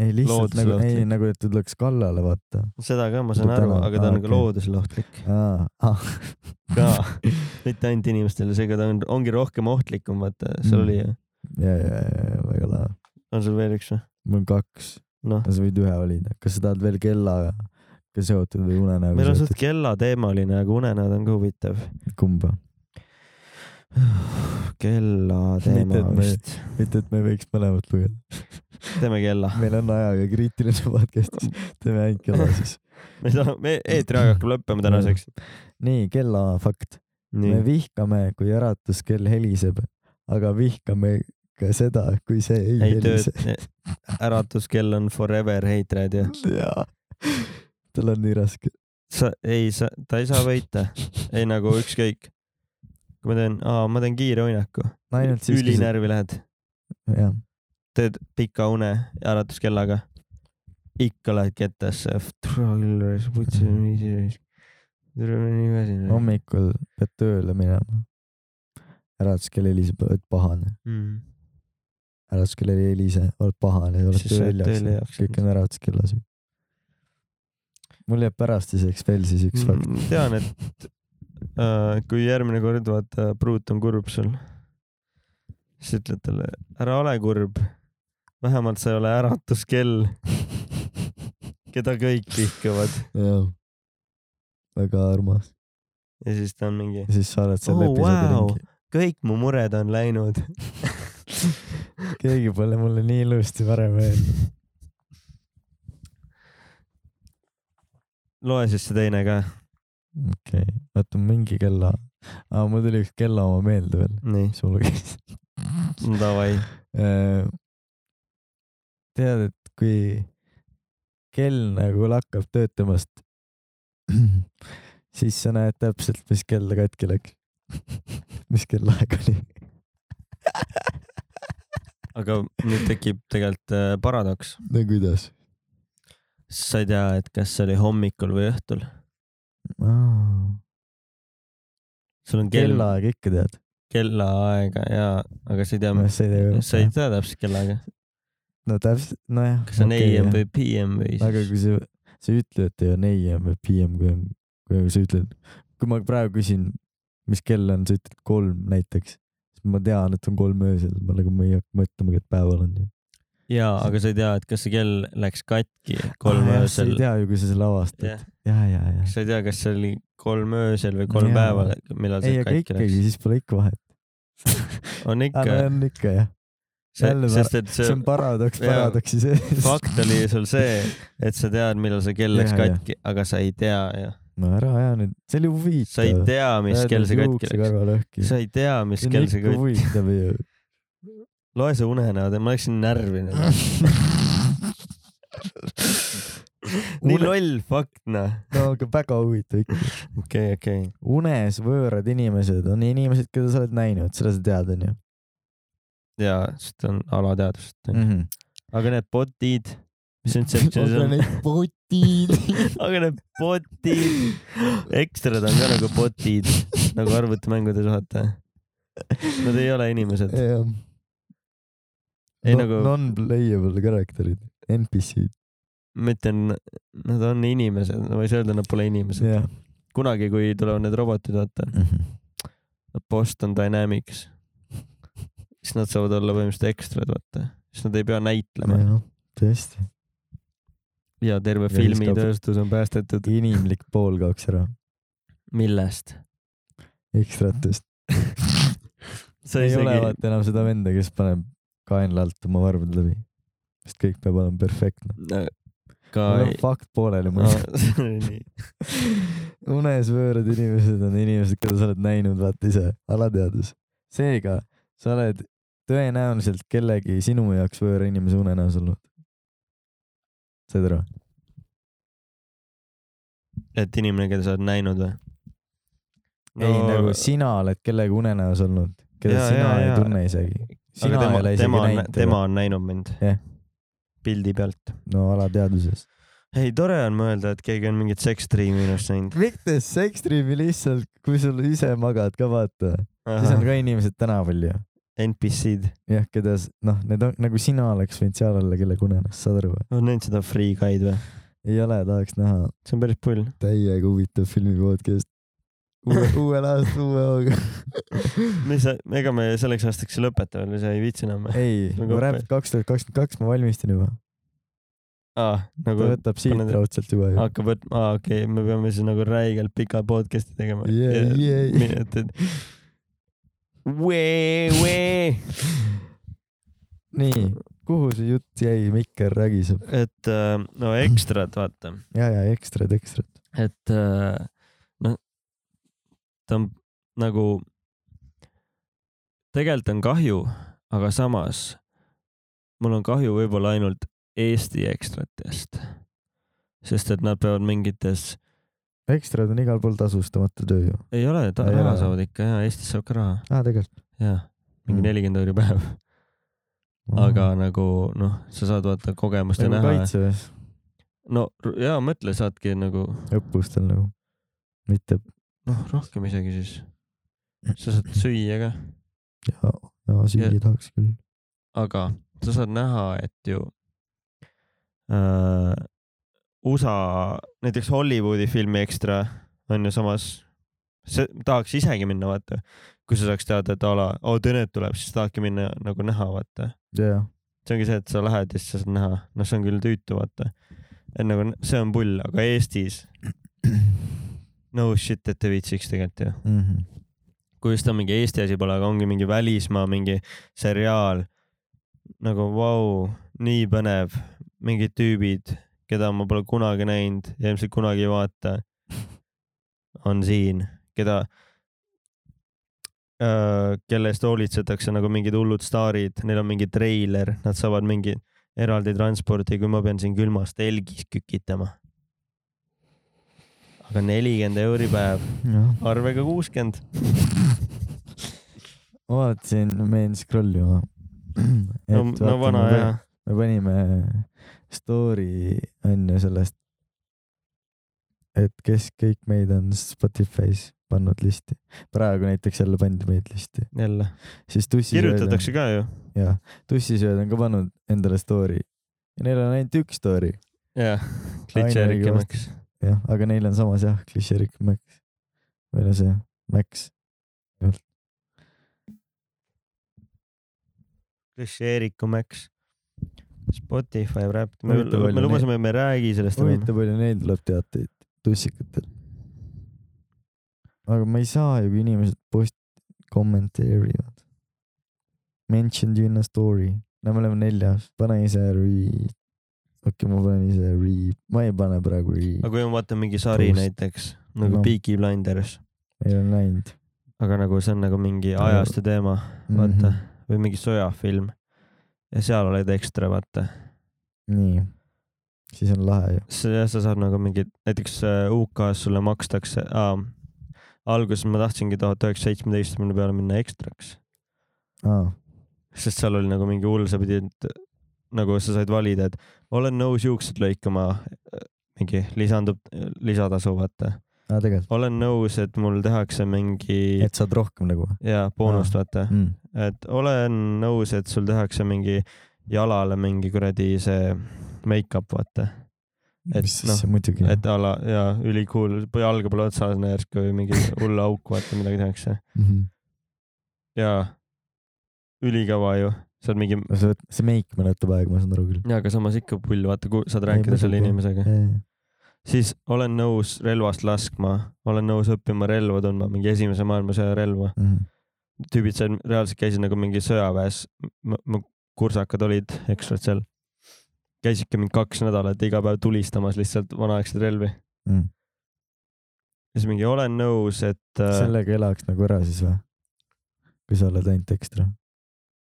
ei lihtsalt Loodusele nagu , ei ohtlik. nagu , et ta tuleks kallale , vaata . seda ka ma saan Ta aru , täna- aga ta aa, on ka okei. loodusele ohtlik aa , ah, ka , mitte ainult inimestele , seega ta on , ongi rohkem ohtlikum , vaata , sul Mm. oli ju , ja , ja , ja väga lahe . on sul veel üks või ? mul on kaks , noh , sa võid ühe valida , kas sa tahad veel kellaga seotud või unenäoga meil on seotud suht , kellateemaline , aga unenäod on ka huvitav . kumba ? kellateema Mitte, et me- vist , mitte , et me võiks mõlemat lugeda , teeme kella . meil on ajaga kriitiline podcast , teeme ainult kella siis . me saame , me eetriaeg hakkab lõppema tänaseks . nii , kellafakt . me nii , vihkame , kui äratuskell heliseb , aga vihkame ka seda , kui see ei, ei helise . tööta , äratuskell on forever hatred ju . jaa , tal on nii raske . sa ei , sa , ta ei saa võita , ei nagu ükskõik . kui ma teen , aa , ma teen kiire uinaku , ainult siis , kui sa , ülinärvi lähed , jah , teed pika une ja äratuskellaga . ikka lähed kettasse , küll oleks putsi nii siis . tere , ma olen nii väsinud . hommikul pead tööle minema . äratuskell heliseb , oled pahane . Mm. äratuskell ei helise , oled pahane , oled Siis sa oled tööl tööle jaoks , jaoks kõik on äratuskellas . mul jääb pärastiseks veel siis üks fakt . tean , et äh, kui järgmine kord vaata , pruut on kurb sul , siis ütled talle , ära ole kurb . vähemalt sa ei ole äratuskell , keda kõik vihkavad jah , väga armas . ja siis ta on mingi , ja siis sa oled seal Oh, episoodi wow. ringi . kõik mu mured on läinud . keegi pole mulle nii ilusti varem öelnud . loe siis see teine ka , okei okay. , oota mingi kella ah, , mul tuli üks kella oma meelde veel , nii , mis mul käis . davai . tead , et kui kell nagu lakkab töötamast , siis sa näed täpselt , mis kell ta katki läks . mis kellaaeg oli . aga nüüd tekib tegelikult äh, paradoks , no kuidas sa ei tea , et kas see oli hommikul või õhtul , ah, ? sul on kell , kellaaeg ikka tead ? kellaaega ja , aga sa ei tea , sa ei tea sa ei . tea täpselt kellaaega , no täpselt , nojah . kas on AM või PM või aga siis kui sa , sa ei ütle , et ei on AM või PM , kui on , kui sa ütled , kui ma praegu küsin , mis kell on , sa ütled kolm näiteks , ma tean , et on kolm öösel , ma nagu ma ei hakka mõtlema , et päeval on ju . jaa , aga sa ei tea , et kas see kell läks katki kolm Ah, sa öösel ei . tea ju , kui sa selle avastad Jah. yeah. . ja , ja , ja . sa ei tea , kas see oli kolm öösel või kolm Jaa. päeval , millal ei , see aga katki ikkagi läks ., siis pole ikka vahet . on ikka aga , on ikka jah , jälle ma- sest et see see on paradoks jaa. paradoksi sees . fakt oli sul see , et sa tead , millal see kell läks Jaa, jaa. katki , aga sa ei tea ju . no ära aja nüüd , see oli huvitav . sa ei tea , mis kell see katki läks . läks . sa ei tea , mis see on kell see ikka kõik , huvitav ju . loe see unenäod ja ma läksin närvi nagu . nii Une- loll fakt noh . no aga väga huvitav ikka . okei , okei . unes võõrad inimesed on inimesed , keda sa oled näinud , seda sa tead , onju . jaa , sest on alateadvust . Mhm. aga need bot'id , mis Inceptionis aga on , need botid . aga need bot'id , ekstrad on ka nagu bot'id , nagu arvutimängudes vaata . Nad ei ole inimesed . jah . Ei, nagu- Non-playable character'id , NPC-d . ma ütlen , nad on inimesed , ma ei saa öelda , nad pole inimesed . jah . kunagi , kui tulevad need robotid , vaata , Boston Dynamics , siis nad saavad olla põhimõtteliselt ekstrad , vaata . siis nad ei pea näitlema tõesti . ja terve Ja siis filmitööstus on päästetud . inimlik pool kaoks ära , millest ? ekstratest . sa ei isegi... ole vaata enam seda venda , kes paneb kaenla alt oma varbad läbi . sest kõik peab olema noh. perfektne . ka mul on ei . fakt pooleli No, muidu . see oli nii. unes võõrad inimesed on inimesed , keda sa oled näinud , vaata ise , alateadus . seega sa oled tõenäoliselt kellegi sinu jaoks võõra inimese unenäos olnud . said aru ? et inimene , keda sa oled näinud või ? no... . ei , nagu sina oled kellegi unenäos olnud , keda Jaa, ja, sina jaa, ja, ei jaa. ja. tunne isegi . sina tema, ei ole isegi tema on- näinud tema . on näinud mind Jah. pildi pealt . no alateadvuses . ei , tore on mõelda , et keegi on mingit sekstriimi minust näinud . mitte sekstriimi lihtsalt , kui sul ise magad ka vaata , siis on ka inimesed tänaval ju . NPC-d . jah , keda , noh , need on nagu sina oleks võinud seal olla kellegi unenäos , saad aru või ? oled näinud seda Free Guy'd või ? ei ole , tahaks näha see on päris pull . täiega huvitav filmi podcast . uue , uuel aastal uue hooga . mis , ega me selleks aastaks ei lõpeta veel , sa ei viitsi enam või ? ei , Väga ma räägin kaks tuhat kakskümmend kaks , ma valmistan juba . aa , ta nagu võtab siit paned- raudselt juba ju . hakkab võtma , aa okei okay, , me peame siis nagu räigelt pika podcast'i tegema . Yeah, yeah. minutid . Wee , wee . nii , kuhu see jutt jäi , Mikker rägiseb . et äh, no ekstrad , vaata , ja , ja ekstrad , ekstrad . et äh, noh , ta on nagu , tegelikult on kahju , aga samas mul on kahju võib-olla ainult Eesti ekstratest , sest et nad peavad mingites , ekstrad on igal pool tasustamata töö ju . ei ole , Ei raha ole. saavad ikka ja Eestis saab ka raha , aa , tegelikult . jaa , mingi Mm. nelikümmend euri päev , aga . nagu noh , sa saad vaata kogemust ja nagu näha . kaitseväes no r- jaa , mõtle , saadki nagu õppustel nagu , mitte noh , rohkem isegi siis . sa saad süüa ka , ja, ja süüa Ja- tahaks küll . aga sa saad näha , et ju äh, USA , näiteks Hollywoodi filmi ekstra on ju samas , see tahaks isegi minna , vaata , kui sa saaks teada , et a la , oo Tenet tuleb , siis tahadki minna nagu näha , vaata . jaa , see ongi see , et sa lähed ja siis sa saad näha , noh , see on küll tüütu , vaata . et nagu n- see on pull , aga Eestis no shit , et ei viitsiks tegelikult ju . kui just on mingi Eesti asi pole , aga ongi mingi välismaa mingi seriaal . nagu vau , nii põnev , mingid tüübid , keda ma pole kunagi näinud ja ilmselt kunagi ei vaata , on siin , keda , kelle eest hoolitsetakse nagu mingid hullud staarid , neil on mingi treiler , nad saavad mingi eraldi transporti , kui ma pean siin külmas telgis kükitama . aga nelikümmend euri päev , jah . arvega kuuskümmend . ma vaatasin , ma jäin scroll ima . no , no vana hea . me panime story onju sellest , et kes kõik meid on Spotify's pannud listi . praegu näiteks jälle pandi meid listi , jälle . siis tussisööd on , kirjutatakse ka ju . jaa , tussisööd on ka pannud endale story ja neil on ainult üks story , jah , klitšerikkemaks . jah , aga neil on samas jah , klišeerik Max või no see Max . pluss Eeriku Max . Spotify Wrapped , me, Huvitav me palju neid- lubasime , et me ei räägi sellest enam . huvitav palju neil tuleb teateid tussikatel . aga ma ei saa ju , kui inimesed post- , kommenteerivad . Mentioned you in a story . no me oleme neljas , pane ise re- . okei okay, , ma panen ise re- , ma ei pane praegu re- aga , kui ma vaatan mingi sari Post. Post. näiteks nagu no. No. Peaky Blinders , ei ole näinud . aga nagu see on nagu mingi Aga- ajastu teema , vaata mm . Mhm. -hmm. või mingi sõjafilm . ja seal oled ekstra , vaata . nii , siis on lahe ju . sa , sa saad nagu mingi , näiteks äh, UK-s sulle makstakse äh, , alguses ma tahtsingi tuhat üheksasada seitsmeteistkümne peale minna ekstraks , aa , sest seal oli nagu mingi hull , sa pidid nagu sa said valida , et olen nõus juuksed lõikama , mingi lisandub lisatasu , vaata . aa tegelikult , olen nõus , et mul tehakse mingi et saad rohkem nagu ja boonust , vaata , mm. . et olen nõus , et sul tehakse mingi jalale mingi kuradi see make-up , vaata . Et mis noh, asja no, , muidugi . et a la ja ülikool , jalga pole otsas , no järsku mingi hull auk , vaata midagi tehakse Mm -hmm. ja ülikõva ju , sa oled mingi , see , see meik mäletab aega , ma saan aru küll . ja aga samas ikka pull , vaata , saad rääkida selle muidugi. inimesega , siis olen nõus relvast laskma , olen nõus õppima relva tundma , mingi esimese maailmasõja relva , Mhm. tüübid seal reaalselt käisid nagu mingi sõjaväes , mu kursakad olid , eks ole , seal käisidki mingi kaks nädalat iga päev tulistamas lihtsalt vanaaegseid relvi ja Mm. siis mingi olen nõus , et äh, sellega elaks nagu ära siis või ? kui sa oled ainult ekstra ?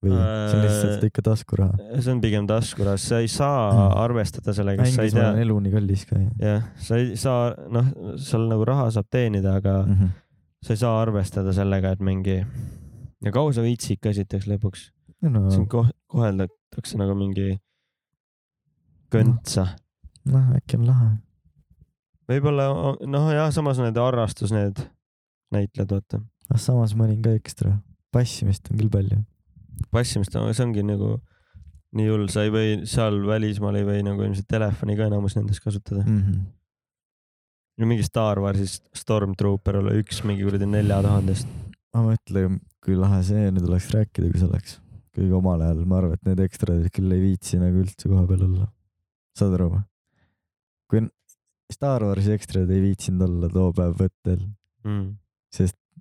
või see Äh. on lihtsalt ikka taskuraha ? see on pigem taskuras , sa ei saa Mm. arvestada sellega , sa ei Inglismaal tea on , elu nii kallis ka ju . jah , sa ei saa , noh , seal nagu raha saab teenida , aga Mhm. mm. sa ei saa arvestada sellega , et mingi , ja kaua sa viitsid ka esiteks lõpuks , no sind ko- koheldatakse nagu mingi kõntsa . noh , äkki on lahe . võib-olla , noh jah , samas on need harrastus , need näitlejad , vaata . aga Ah, samas ma olin ka ekstra . passimist on küll palju . passimist , see ongi nagu nii hull , sa ei või , seal välismaal ei või nagu ilmselt telefoni ka enamus nendes kasutada . Mm. Mhm. no mingi Star Warsis Stormtrooper olla üks mingi kuradi nelja tuhandest . ma mõtlen , kui lahe see nüüd oleks rääkida , kui see oleks . kuigi omal ajal ma arvan , et need ekstrad küll ei viitsi nagu üldse koha peal olla . saad aru või ? kui n- Star Warsi ekstrad ei viitsinud olla too päev võttel , mm. .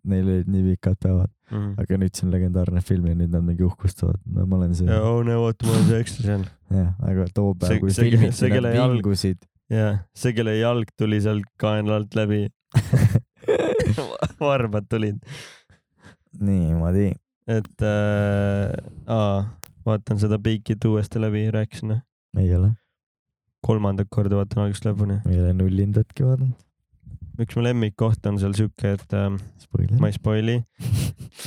neil olid nii pikad päevad , Mm. aga nüüd see on legendaarne film ja nüüd nad mingi uhkustavad , no ma olen see , ja oh no vaata , mul on see ekstra seal . jah , aga too See- päev , kui see, ke- filmid see, see, kelle nad jalg- vingusid , ja see , kelle jalg tuli sealt kaenla alt läbi varbad tulid , niimoodi , et äh, aa, vaatan seda Peakit uuesti läbi , rääkisin noh. ei ole , kolmandat korda vaatan algusest lõpuni . ei ole nullindatki vaadanud , üks mu lemmikkoht on seal siuke , et äh, spoiler ma ei spoili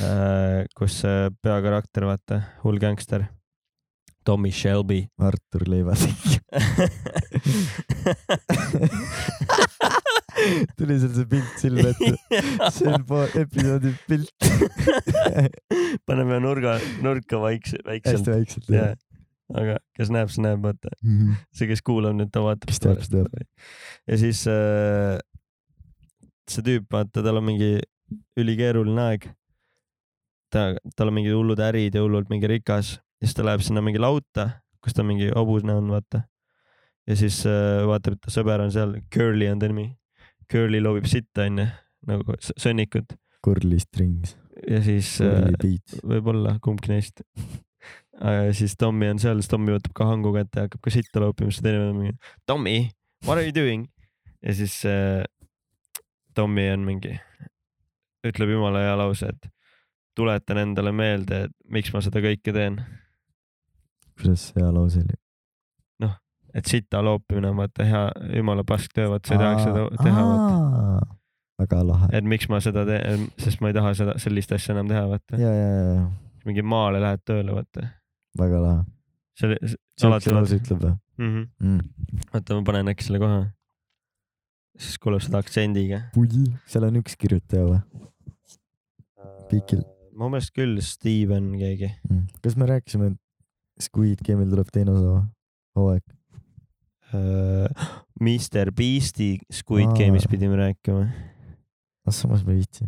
äh, , kus see peakarakter , vaata , hull gängster , Tommy Shelby Artur Leivasik . tuli seal see pilt silme ette , see on po- episoodi pilt , paneme nurga , nurka vaikse , väikselt hästi . väikselt jaa yeah. ., aga kes näeb , see näeb , vaata . see , kes kuulab nüüd , ta vaatab . Kes teab, see teab. . ja siis äh, see tüüp , vaata , tal on mingi ülikeeruline aeg . ta , tal on mingid hullud ärid ja hullult mingi rikas ja siis ta läheb sinna mingi lauta , kus ta mingi hobusena on , vaata . ja siis äh, vaatab , et ta sõber on seal , Curly on ta nimi . Curly loobib sitta , onju , nagu s- sõnnikut Curly Strings , ja siis äh, Curly Beats , võib-olla kumbki neist . ja siis Tommy on seal , siis Tommy võtab ka hangu kätte ja hakkab ka sitta loopima , siis teine on mingi Tommy , what are you doing ? ja siis äh, Tommy on mingi , ütleb jumala hea lause , et tuletan endale meelde , et miks ma seda kõike teen , kuidas see hea lause oli ? et sita loopimine on vaata hea jumala pask töö , vaat sa ei tahaks seda teha , vaata . vaata . väga lahe , et miks ma seda teen , sest ma ei taha seda , sellist asja enam teha , vaata . ja , ja , ja , mingi maale lähed tööle , vaata . väga lahe . see oli , alati Mhm. siukse oled- lause ütleb või mhmh . mm. ? oota , ma panen äkki selle kohe . siis kuuleb seda aktsendiga . pull , seal on üks kirjutaja või Pikil. . mu meelest küll Steven keegi . mm. ? kas me rääkisime , et Squid Game'il tuleb teine osa või ? hooaeg , Mr Äh, Beast'i Squid Aa. Game'is pidime rääkima , ah samas ma ei viitsi .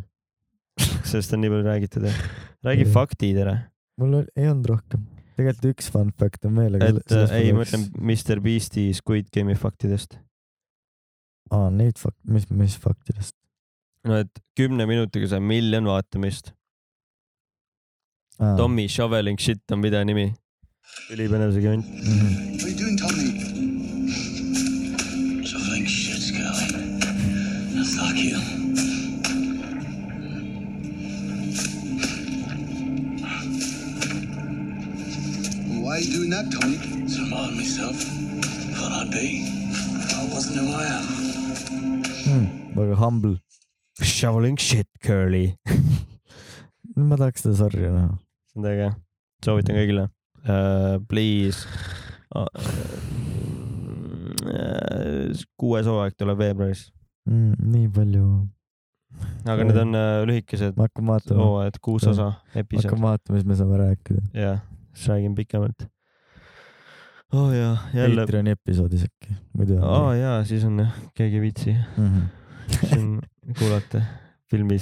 sellest on nii palju räägitud jah . räägi faktid ära . mul oli, ei olnud rohkem . tegelikult üks fun fact on veel , aga et äh, ei , ma ütlen . Mr Beast'i Squid Game'i faktidest . aa , neid fakt- , mis , mis faktidest ? no et kümne minutiga sai miljon vaatamist . Tommy Shoveling Shit on video nimi . ülipõnev see kümend . mhm. What are you doing, Tommy? Something shit's going. Now fuck you. Why are you doing that, Tommy? To remind myself what I'd be. if I wasn't who I am. väga humble . Shoveling Shit Curly . ma tahaks seda sarja näha . see on väga hea , soovitan kõigile uh, . Please uh, . äh, kuues hooaeg tuleb veebruaris , Mm, nii palju , aga need on uh, lühikesed ma hakkan vaatama , hooajad , kuus osa , episood hakkan vaatama , siis me saame rääkida . ja siis räägin pikemalt . oo oh, jaa , jälle , Patreoni episoodis äkki , muidu . Mhm. aa oh, jaa , siis on jah , keegi ei viitsi siis on kuulata filmi ,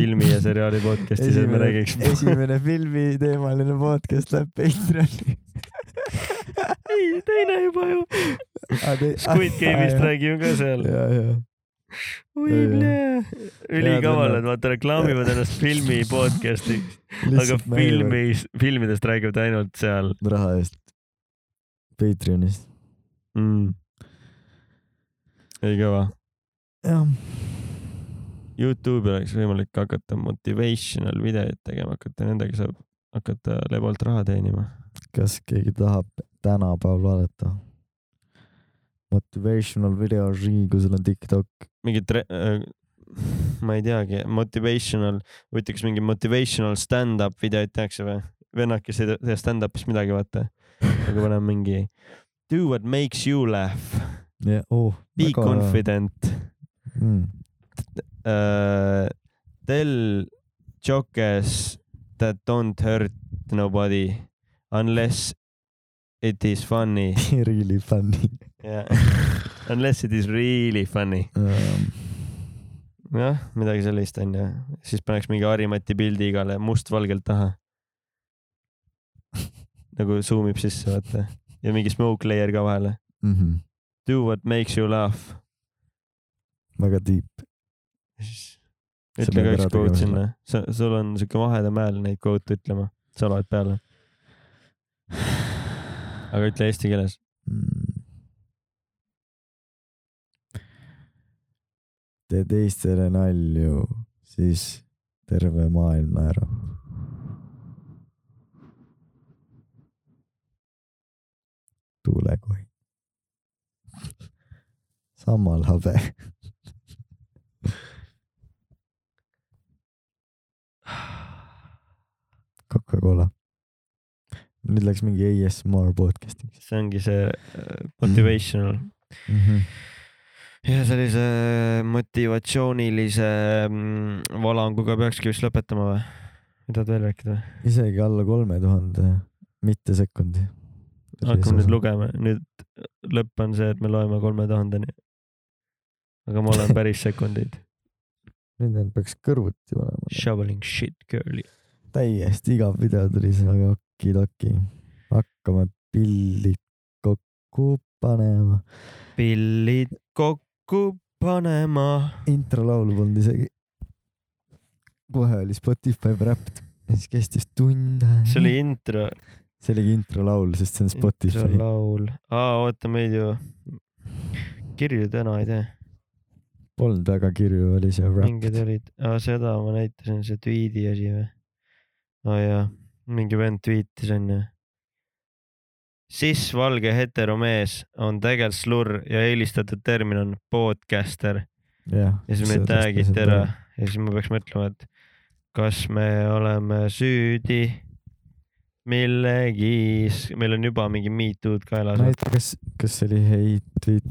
filmi ja seriaali podcast'i , siis me räägiks . esimene filmiteemaline podcast läheb Patreoni . ei , teine juba ju . Ah, Squid Game'ist . räägime ka seal . ja , ja . võib-olla . Head ülikavalad , vaata reklaamivad ennast filmi podcast'iks , aga filmis , filmidest räägivad ainult seal raha eest . Patreonist . mm. . ei kõva . jah . Youtube'i oleks võimalik hakata motivational videoid tegema , hakata nendega saab hakata lebalt raha teenima . kas keegi tahab tänapäeval vaadata ? Motivational videorii , kui sul on TikTok . mingit re- , ma ei teagi , motivational , huvitav , kas mingi motivational stand-up videoid tehakse või ? vennakes ei tee stand-up'is midagi , vaata . aga paneme mingi do what makes you laugh , jah , oh . be confident . mm. . uh, tell jokes that don't hurt nobody unless it is funny Really funny yeah. unless it is really funny um, . jah midagi sellist onju siis paneks mingi Harimati pildi igale mustvalgelt taha nagu zoom ib sisse vaata ja mingi smoke layer ka vahele Mm -hmm. do what makes you laugh väga deep . siis See ütle peab ka ära üks quote tegema sinna sa sul on siuke vahedam hääl neid quote ütlema sa loed peale aga ütle eesti keeles Mm. tee teistele nalju , siis terve maailm naerab . tuulekoi . sama labe . Coca-Cola . nüüd läks mingi ASMR podcast'iks see ongi see äh, motivational mm . -hmm. ja sellise äh, motivatsioonilise mm, valanguga peakski vist lõpetama või mida tahad veel rääkida või isegi alla kolme tuhande mittesekundi . hakkame nüüd . lugema nüüd lõpp on see et me loeme kolme tuhandeni aga ma olen päris sekundid nüüd nad peaks kõrvuti panema . shoveling shit girl'i täiesti igav video tuli see , aga okidoki . hakkame pillid kokku panema . pillid kokku panema introlaulu polnud isegi . kohe oli Spotify Wrapped ja siis kestis tund . see oli intro see oligi introlaul , sest see on Spotify . laul , aa oota meid ju , kirju täna ei tee , polnud väga kirju , oli see mingid Wrapped . olid , aa seda ma näitasin , see tweet'i asi või ? aa jaa , mingi vend tweetis onju . siis valge heteromees on tegelikult slurr ja eelistatud termin on podcaster jah . ja siis meid tag'iti ära . ja siis ma peaks mõtlema , et kas me oleme süüdi millegis , meil on juba mingi me too'd kaelas ma ei . tea , kas , kas see oli heit tweet ,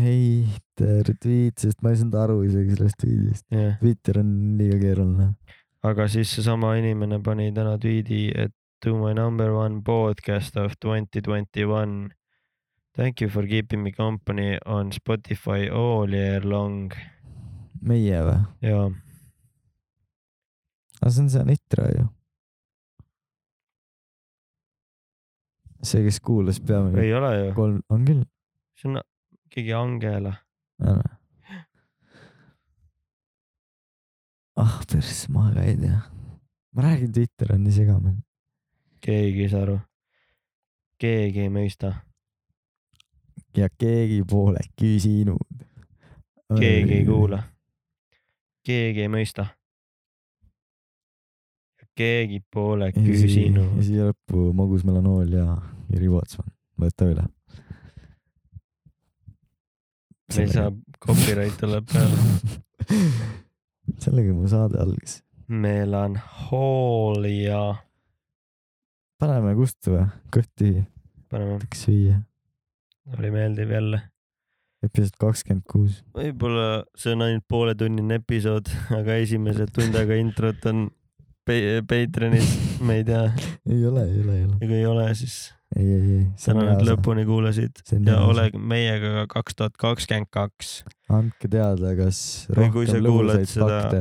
heiter tweet , sest ma ei saanud aru isegi sellest tweetist . jah , Twitter on liiga keeruline . aga siis seesama inimene pani täna tweet'i , et to my number one podcast of twenty twenty one . Thank you for keeping me company on Spotify all year long meie või ? ja aga see on see Anitra ju . see , kes kuulas , peame ei ole ju , kolm , on küll . see on keegi Angela . ah pers , ma ka ei tea . ma räägin , Twitter on nii segamini . keegi ei saa aru . keegi ei mõista , ja keegi pole küsinud . keegi ei . kuula . keegi ei mõista . keegi pole ja küsinud . siia lõppu Magus Melanol ja Jüri Pootsman , võta üle . meil saab copyright tuleb peale . sellega mu saade algas . melanhoolia , paneme kustu või , kõhti paneme , võiks süüa . oli meeldiv jälle . episood kakskümmend kuus . võib-olla see on ainult pooletunnine episood , aga esimese tund aega introt on pe- , Patreonis , ma ei tea , ei ole , ei ole , ei ole . ja kui ei ole , siis ei , ei , ei . tänan , et . lõpuni kuulasid see on ja hea osa. ole meiega ka kaks tuhat kakskümmend kaks andke teada , kas Või kui sa rohkem kuulad lõbusaid seda- fakte .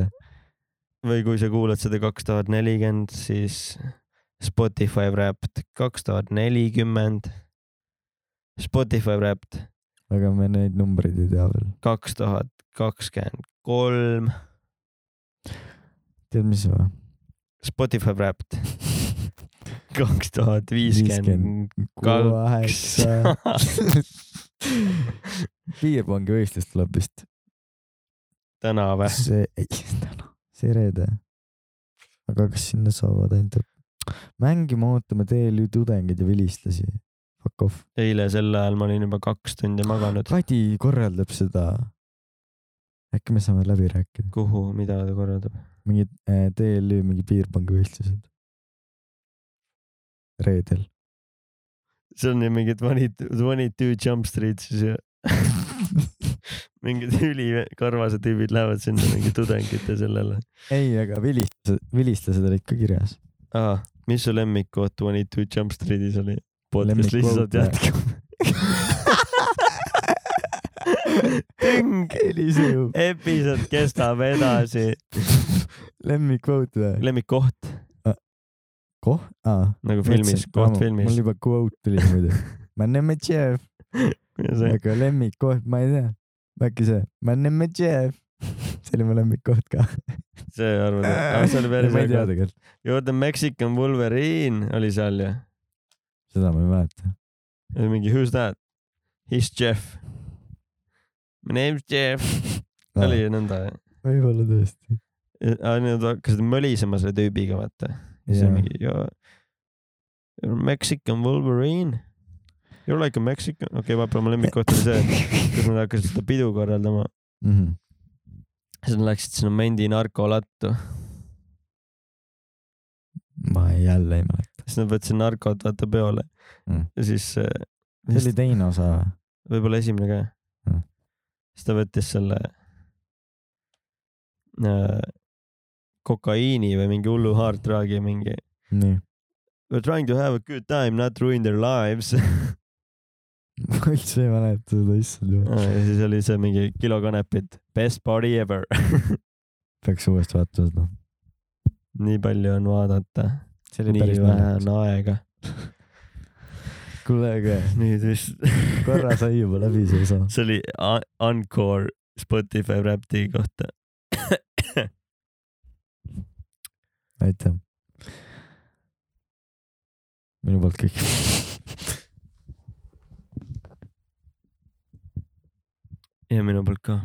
või kui sa kuulad seda kaks tuhat nelikümmend , siis Spotify Wrapped kaks tuhat nelikümmend . Spotify Wrapped aga me neid numbreid ei tea veel . kaks tuhat kakskümmend kolm , tead , mis või ? Spotify Wrapped kaks tuhat viiskümmend kaheksa . kaks . piirpangi võistlus tuleb vist . täna või ? see , ei , täna , see reede . aga kas sinna saavad ainult mängima ootame teel ju tudengeid ja vilistlasi . Fuck off . eile sel ajal ma olin juba kaks tundi maganud . Kadi korraldab seda . äkki me saame läbi rääkida , kuhu , mida ta korraldab ? mingid äh, TLÜ mingi piirpangi võistlused . reedel . see on ju mingi twenty , twenty two jump streets ja mingid ülikarvased tüübid lähevad sinna mingi tudengite sellele ei , aga vilistlased , vilistlased olid ka kirjas . ah, . mis su lemmikkoht Twenty Two Jump Streetis oli ? podcast Lemmikquote lihtsalt või? jätkab . Tüng. heliseju . episood kestab edasi . lemmikkvoot või ? lemmikkoht koh- , aa . nagu filmis , koht filmis mul . juba kvoot tuli muidu . ma näeme Jeff , aga lemmikkoht , ma ei tea . äkki see , ma näeme Jeff . see oli mu lemmikkoht ka . see arvad , aga see oli päris ma ei tea hea . tegelikult , juurde Mexican Wolverine oli seal ju . seda ma ei mäleta . oli mingi Who's that ? He's Jeff . My name's Jeff . oli ju nõnda ju . Ah, võib-olla tõesti . Nad hakkasid mölisema selle tüübiga , vaata . siis on mingi you are Mexican Wolverine . You are like a Mexican , okei okay, , vahepeal mu lemmikkoht oli see , kus nad hakkasid seda pidu korraldama , Mhm. siis nad läksid sinna Mendi narkolattu , ma ei- jälle ei mäleta . siis nad võtsid narkot vaata peole Mm. ja siis äh, see oli teine osa või ? võib-olla esimene ka Mm. mm. . siis ta võttis selle äh, kokaiini või mingi hullu haartraagi mingi nii . We are trying to have a good time , not ruin their lives ma üldse ei mäleta seda , issand jumal . Ah, ja siis oli see mingi kilo kanepit , best party ever . peaks uuesti vaatama seda . nii palju on vaadata , see nii vähe on . aega . kuule , aga nüüd vist , korra sai juba läbi see osa . see oli a- Encore Spotify Rapti kohta . aitäh . minu poolt kõik . ja minu poolt ka